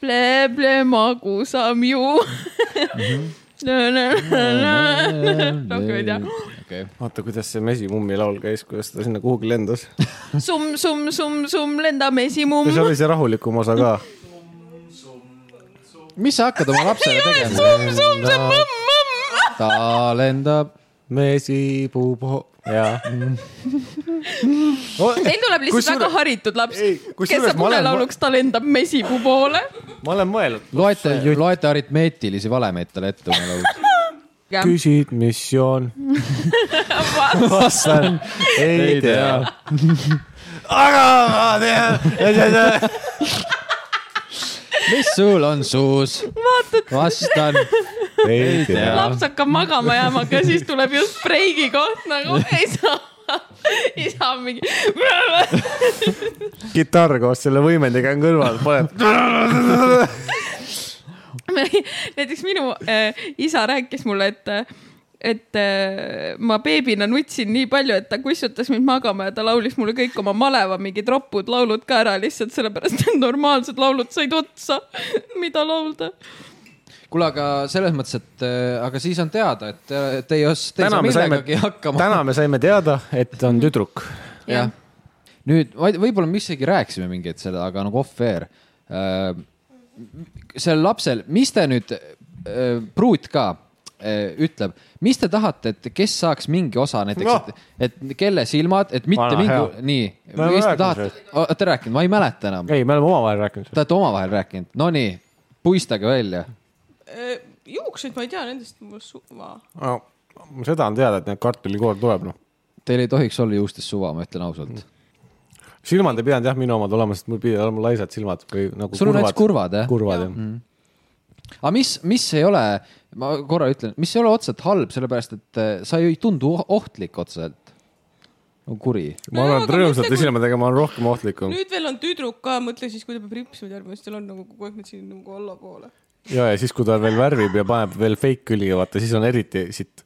Speaker 2: pleble magusam ju .
Speaker 1: Mhm.
Speaker 2: (laughs) rohkem ei tea .
Speaker 4: okei okay. ,
Speaker 1: vaata , kuidas see Mesimummi laul käis , kuidas ta sinna kuhugi lendas .
Speaker 2: summ , summ , summ , summ , lendame esimumm .
Speaker 1: see oli see rahulikum osa ka .
Speaker 4: mis sa hakkad oma lapsele
Speaker 2: summ , summ , see on
Speaker 4: tegema ?
Speaker 2: mõmm , mõmm .
Speaker 4: ta lendab .
Speaker 1: mesipuupo- ,
Speaker 4: (laughs)
Speaker 1: jaa . Oh,
Speaker 2: Teil tuleb lihtsalt Kusjuure... väga haritud laps
Speaker 1: Ei, ,
Speaker 2: kes
Speaker 1: kusjuures
Speaker 2: saab
Speaker 1: ma olen-
Speaker 2: unelauluks , ta lendab mesipuu poole .
Speaker 1: ma olen mõelnud .
Speaker 4: loete , loete aritmeetilisi valemeid talle ette unelauluks .
Speaker 1: küsid , mis
Speaker 4: (laughs)
Speaker 1: joon ? vastan , ei tea . aga ma tean .
Speaker 4: mis sul on suus ? vastan .
Speaker 1: ei tea .
Speaker 2: laps hakkab magama jääma , aga siis tuleb just breigi koht nagu ei saa , ei saa mingi . (laughs)
Speaker 1: kitarr koos selle võimendiga on kõrval ,
Speaker 4: (laughs)
Speaker 1: paneb .
Speaker 2: näiteks minu äh, isa rääkis mulle , et äh, et äh, ma beebina nutsin nii palju , et ta kussutas mind magama ja ta laulis mulle kõik oma maleva mingid ropud laulud ka ära lihtsalt sellepärast , et normaalsed laulud said otsa , (laughs) mida laulda .
Speaker 4: kuule , aga selles mõttes , et äh, aga siis on teada , et äh, te ei os- , te ei
Speaker 1: täna
Speaker 4: saa
Speaker 1: me saime ,
Speaker 4: millegagi hakkama .
Speaker 1: täna me saime teada , et on tüdruk .
Speaker 4: jah . nüüd vaid- võib-olla me isegi rääkisime mingeid seda , aga nagu off-air . sellel lapsel , mis te nüüd , pruut ka äh, ütleb , mis te tahate , et kes saaks mingi osa näiteks
Speaker 1: Noh.
Speaker 4: no. , et, et kelle silmad , et mitte
Speaker 1: Vana
Speaker 4: mingi
Speaker 1: hea. ,
Speaker 4: nii .
Speaker 1: Me oleme
Speaker 4: mis te
Speaker 1: rääkinud
Speaker 4: tahate , olete rääkinud , ma ei mäleta enam ,
Speaker 1: ei , me oleme omavahel rääkinud .
Speaker 4: te olete omavahel rääkinud , nonii , puistage välja .
Speaker 5: juukseid Äh, ma ei tea nendest , mul suva .
Speaker 1: seda on teada , et need kartulikoor tuleb , noh .
Speaker 4: Teil ei tohiks olla juustest suva , ma ütlen ausalt .
Speaker 1: silmad ei pidanud jah minu omad olema , sest mul pidid olema laisad silmad või nagu
Speaker 4: sul on näiteks kurvad , jah ? Mm.
Speaker 1: kurvad jah .
Speaker 4: aga mis , mis ei ole , ma korra ütlen , mis ei ole otseselt halb , sellepärast et äh, sa ju ei tundu oh- ohtlik otseselt . no kuri .
Speaker 1: ma arvan , et
Speaker 5: Aga
Speaker 1: rõõmsate
Speaker 5: mõtle, kui-
Speaker 1: silmadega ma olen rohkem ohtlikum
Speaker 5: nüüd veel on tüdruk ka , mõtle siis , kui ta peab ripsmeid järgma , siis tal on nagu kogu aeg need siin nagu allapoole .
Speaker 1: ja , ja siis , kui ta veel värvib ja paneb veel fake külge , vaata , siis on eriti sitt .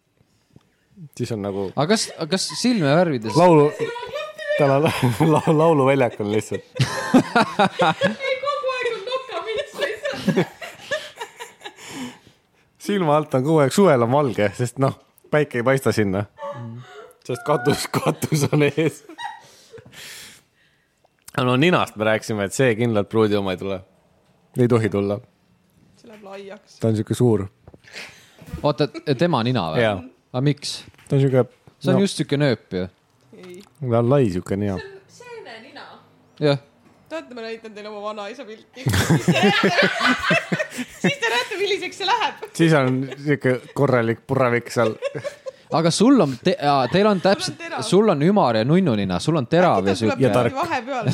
Speaker 1: siis on nagu
Speaker 4: aga kas , kas silme värvides ,
Speaker 1: laulu , tal on (laughs) laulu , lauluväljak on lihtsalt .
Speaker 5: kogu aeg on nokamits lihtsalt .
Speaker 1: silma alt on kogu aeg , suvel on valge , sest noh , päike ei paista sinna . sest katus , katus on ees . no ninast me rääkisime , et see kindlalt pruudi oma ei tule . ei tohi tulla ,
Speaker 5: see läheb laiaks .
Speaker 1: ta on siuke suur ,
Speaker 4: oota , tema nina või
Speaker 1: Jaa. ?
Speaker 4: aga miks ?
Speaker 1: ta on siuke ,
Speaker 4: see
Speaker 1: no,
Speaker 4: on no. just siuke nööp ju .
Speaker 5: ei .
Speaker 1: ta on lai siuke nii hea .
Speaker 2: seenenina
Speaker 4: jah ,
Speaker 5: tahate , ma näitan teile oma vanaisa pilti ? siis te näete , milliseks see läheb .
Speaker 1: siis on siuke korralik puravik seal .
Speaker 4: aga sul on te, , teil on täpselt
Speaker 5: terav. ,
Speaker 4: sul on ümar ja nunnu nina , sul on terav ja siuke ,
Speaker 1: ja tark.
Speaker 5: vahepeal ,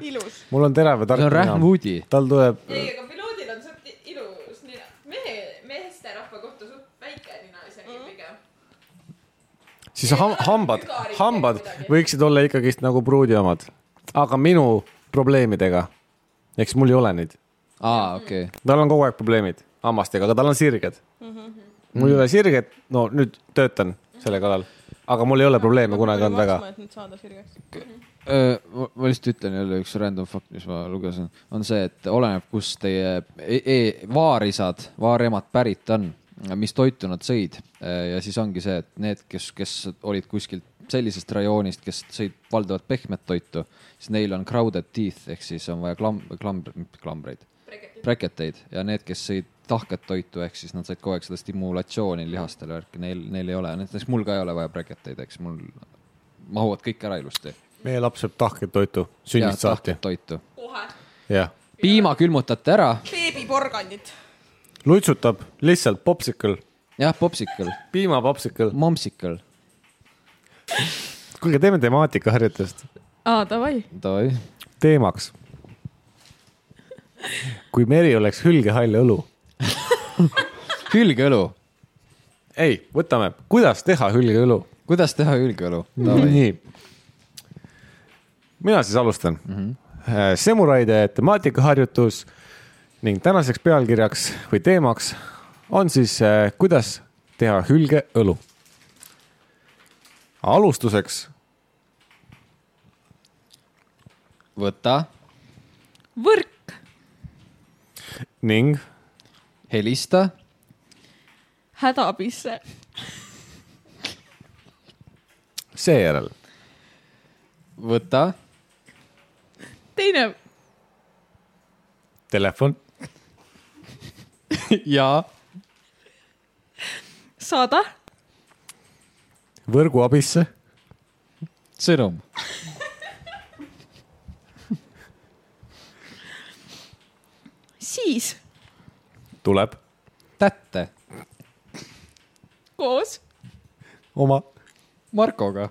Speaker 5: ilus .
Speaker 1: mul on terav ja tark .
Speaker 4: see on Rähm . Woodi .
Speaker 1: tal tuleb ,
Speaker 2: ei , aga piloodil on see ilus nina , mehe , meesterahva kohta suht väike nina isegi
Speaker 5: Mhm.
Speaker 2: mm. pigem .
Speaker 1: siis ham, hambad , hambad võiksid olla ikkagist nagu pruudi omad , aga minu probleemidega , eks mul ei ole neid ,
Speaker 4: aa , okei okay. .
Speaker 1: tal on kogu aeg probleemid hammastega , aga tal on sirged . mul ei ole sirged , no nüüd töötan selle kallal , aga mul ei ole probleeme kunagi olnud väga .
Speaker 5: et nüüd saada sirgeks .
Speaker 4: Äh, ma ma lihtsalt ütlen jälle üks random fakt , mis ma lugesin , on see , et oleneb , kus teie e e vaarisad , vaaremad pärit on , mis toitu nad sõid . ja siis ongi see , et need , kes , kes olid kuskilt sellisest rajoonist , kes sõid valdavalt pehmet toitu , siis neil on crowded teeth ehk siis on vaja klam- , klamb- , mitte klambreid , breketeid ja need , kes sõid tahket toitu , ehk siis nad said kogu aeg seda stimulatsiooni lihastele värki , neil , neil ei ole , näiteks mul ka ei ole vaja breketeid , eks mul mahuvad kõik ära ilusti
Speaker 1: meie laps sööb tahket toitu sünnist
Speaker 4: ja,
Speaker 1: saati
Speaker 4: tahket , toitu .
Speaker 5: kohe .
Speaker 1: jah .
Speaker 4: piima külmutate ära ,
Speaker 5: beebiporgandit .
Speaker 1: lutsutab lihtsalt popsikul ,
Speaker 4: jah , popsikal ,
Speaker 1: piimapopsikul .
Speaker 4: momsikal ,
Speaker 1: kuulge , teeme temaatikaharjutust
Speaker 2: aa , davai .
Speaker 4: davai .
Speaker 1: teemaks . kui meri oleks hülgehall õlu .
Speaker 4: hülgeõlu ,
Speaker 1: ei , võtame , kuidas teha hülgeõlu ?
Speaker 4: kuidas teha hülgeõlu ?
Speaker 1: nii . mina siis alustan mm . -hmm. Semuraide temaatikaharjutus ning tänaseks pealkirjaks või teemaks on siis , kuidas teha hülgeõlu . alustuseks
Speaker 4: võta ,
Speaker 2: võrk ,
Speaker 1: ning
Speaker 4: helista ,
Speaker 2: hädaabisse ,
Speaker 1: seejärel
Speaker 4: võta ,
Speaker 2: teine
Speaker 1: telefon
Speaker 4: jaa ,
Speaker 2: saada ,
Speaker 1: võrgu abisse ,
Speaker 4: sõnum ,
Speaker 2: siis
Speaker 1: tuleb
Speaker 4: tätte ,
Speaker 2: koos
Speaker 1: oma
Speaker 4: Markoga ,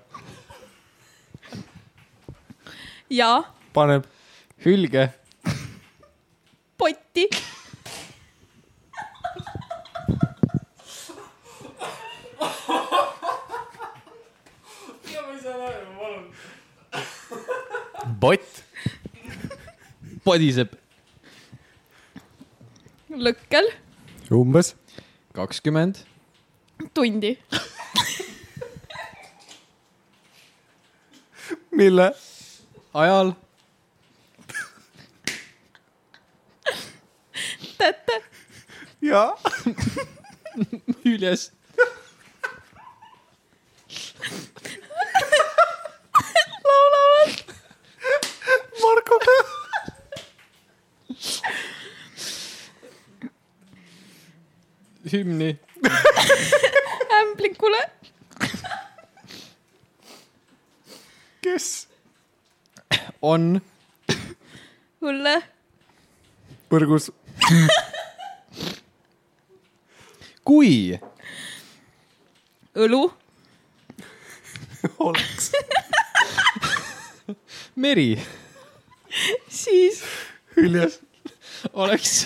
Speaker 2: ja
Speaker 1: paneb
Speaker 4: hülge ,
Speaker 2: potti ,
Speaker 1: pott ,
Speaker 4: podiseb
Speaker 2: lõkkel ,
Speaker 1: umbes
Speaker 4: kakskümmend ,
Speaker 2: tundi ,
Speaker 1: mille
Speaker 4: ajal
Speaker 2: tätte ,
Speaker 1: ja
Speaker 4: hüljes ,
Speaker 1: Marko peab
Speaker 4: hümni ,
Speaker 2: ämblikule ,
Speaker 1: kes
Speaker 4: on
Speaker 2: õlle ,
Speaker 1: põrgus
Speaker 4: (laughs) kui
Speaker 2: õlu ,
Speaker 1: oleks
Speaker 4: meri
Speaker 2: siis
Speaker 1: hüljes
Speaker 4: oleks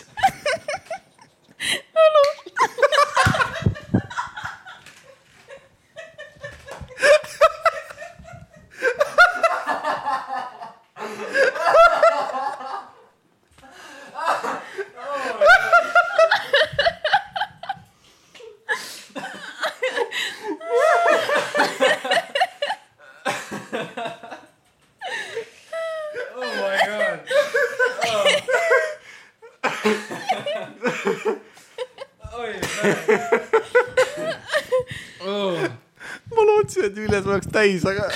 Speaker 1: ma lootsin , et hüljes oleks täis , aga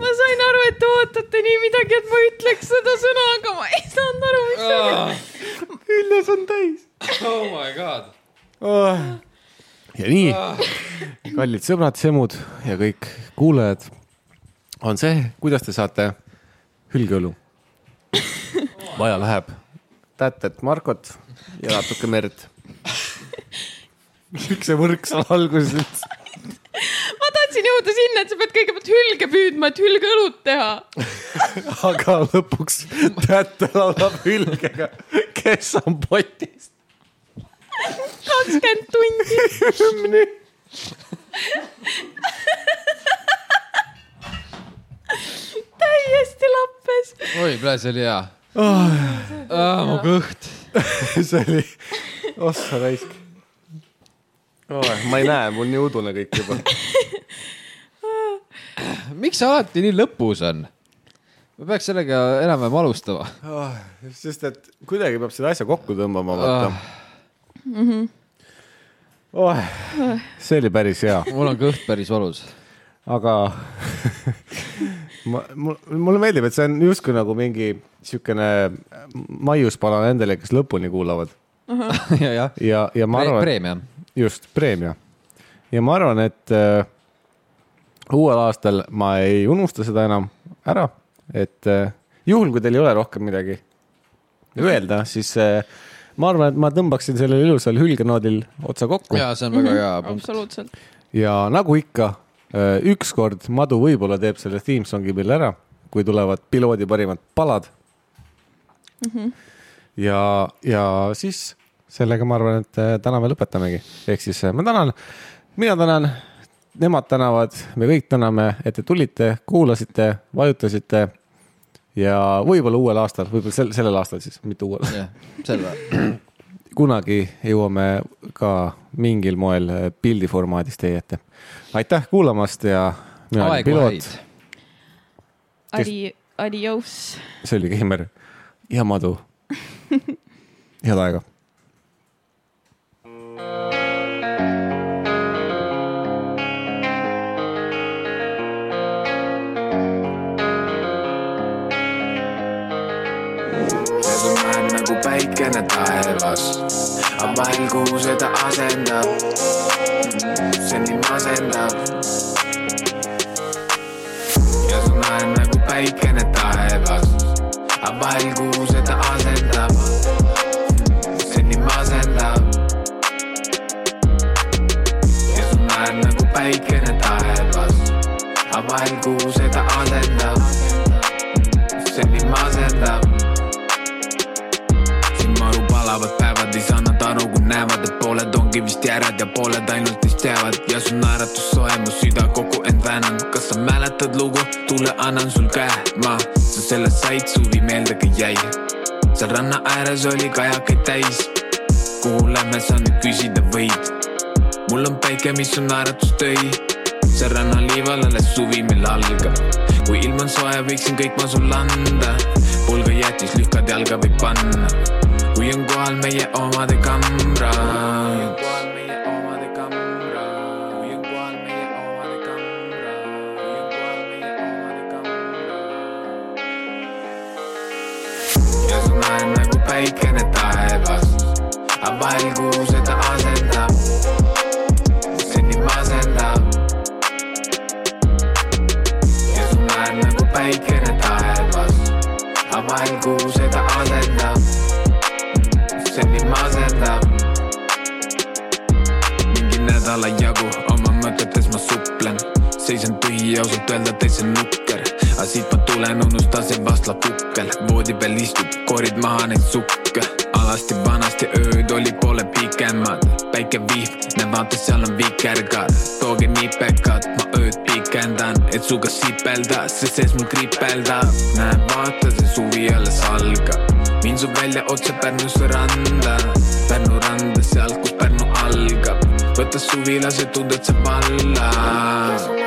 Speaker 2: ma sain aru , et te ootate nii midagi , et ma ütleks seda sõna , aga ma ei saanud aru , mis see oli .
Speaker 1: hüljes on täis
Speaker 4: oh my god .
Speaker 1: oh. . ja nii , kallid sõbrad , semud ja kõik kuulajad , on see , kuidas te saate hülgeõlu . vaja läheb tätet Markot ja natuke merd . miks see võrk seal alguses üldse ?
Speaker 2: ma tahtsin jõuda sinna , et sa pead kõigepealt hülge püüdma , et hülgeõlut teha .
Speaker 1: aga lõpuks täte laulab hülgega , kes on potis .
Speaker 2: kakskümmend tundi .
Speaker 1: hümni .
Speaker 2: täiesti lappes .
Speaker 4: oi , see oli hea ah, . mu kõht .
Speaker 1: see oli , ossa raisk oh, . ma ei näe , mul nii udune kõik juba .
Speaker 4: miks see alati nii lõpus on ? ma peaks sellega enam-vähem alustama .
Speaker 1: oh, . sest , et kuidagi peab selle asja kokku tõmbama , vaata
Speaker 4: Ah.
Speaker 1: oh. . Oh, see oli päris hea ,
Speaker 4: mul on kõht päris valus .
Speaker 1: aga (laughs) ma , mul , mulle meeldib , et see on justkui nagu mingi siukene maiuspala nendele , kes lõpuni kuulavad
Speaker 4: (laughs) ja , jah .
Speaker 1: ja , ja ma arvan ,
Speaker 4: preemia .
Speaker 1: just preemia . ja ma arvan , et äh, uuel aastal ma ei unusta seda enam ära , et äh, juhul , kui teil ei ole rohkem midagi öelda , siis äh, ma arvan , et ma tõmbaksin sellel ilusal hülgenoodil otsa kokku ja,
Speaker 4: ja see on väga hea punkt .
Speaker 2: absoluutselt .
Speaker 1: ja nagu ikka , ükskord Madu võib-olla teeb selle theme song'i meil ära , kui tulevad piloodi parimad palad . ja , ja siis sellega ma arvan , et äh, täna me lõpetamegi , ehk siis äh, ma tänan , mina tänan , nemad tänavad , me kõik täname , et te tulite , kuulasite , vajutasite ja võib-olla uuel aastal , võib-olla sel , sellel aastal siis , mitte uuel ,
Speaker 4: jah , selle ,
Speaker 1: kunagi jõuame ka mingil moel äh, pildi formaadis teie ette . aitäh kuulamast ja mina olen
Speaker 4: aeg
Speaker 1: piloot
Speaker 4: vaid ,.
Speaker 2: Adi , adios .
Speaker 1: see oli Keimer ja Madu . head aega .
Speaker 7: läbi maan nagu päikene taevas , aga vahel kuhu seda asendab , see nii masendab . ja su naer nagu päikene taevas , aga vahel kuhu seda asendab , see nii masendab . ja su naer nagu päikene taevas , aga vahel kuhu seda asendab , see nii masendab siin maru palavad päevad , ei saa nad aru , kui näevad , et pooled ongi vist järjed ja pooled ainult neist jäävad ja su naeratus soe , mu süda kogu end väänab . kas sa mäletad lugu , tule annan sul käe , ma , sa selle said , suvi meelde ka jäi . seal ranna ääres oli kajakaid täis , kuhu lähme , sa nüüd küsida võid . mul on päike , mis su naeratust tõi , seal rannaliival alles suvi meil algab . kui ilm on soe , võiksin kõik ma sulle anda , pulga jäätis , lühkad jalga võib panna . kui on kohal meie omade kamrad . ja su naer nagu päikene taevas , aga vahel kuhu seda asendab , see nii masendab . ja su naer nagu päikene taevas , aga vahel kuhu seda asendab , see nii masendab . mingi nädala jagu oma mõtetes ma suplen , seisan tühi ja ausalt öelda täitsa nukker , aga siit ma tulen , unustasin vastla kukkel , voodi peal istub , koorid maha neid sukke , alasti vanasti ööd oli poole pikemad , päike vihv , näe vaata , seal on vikerkaar , tooge nipekad , ma ööd pikendan , et suga sipelda , sest sees mul kripeldab , näe vaata , see suvi alles algab , viin su välja otse Pärnusse randa , Pärnu randa , sealt , kus Pärnu algab , võta suvilase , tunded sa valla . nagu nagu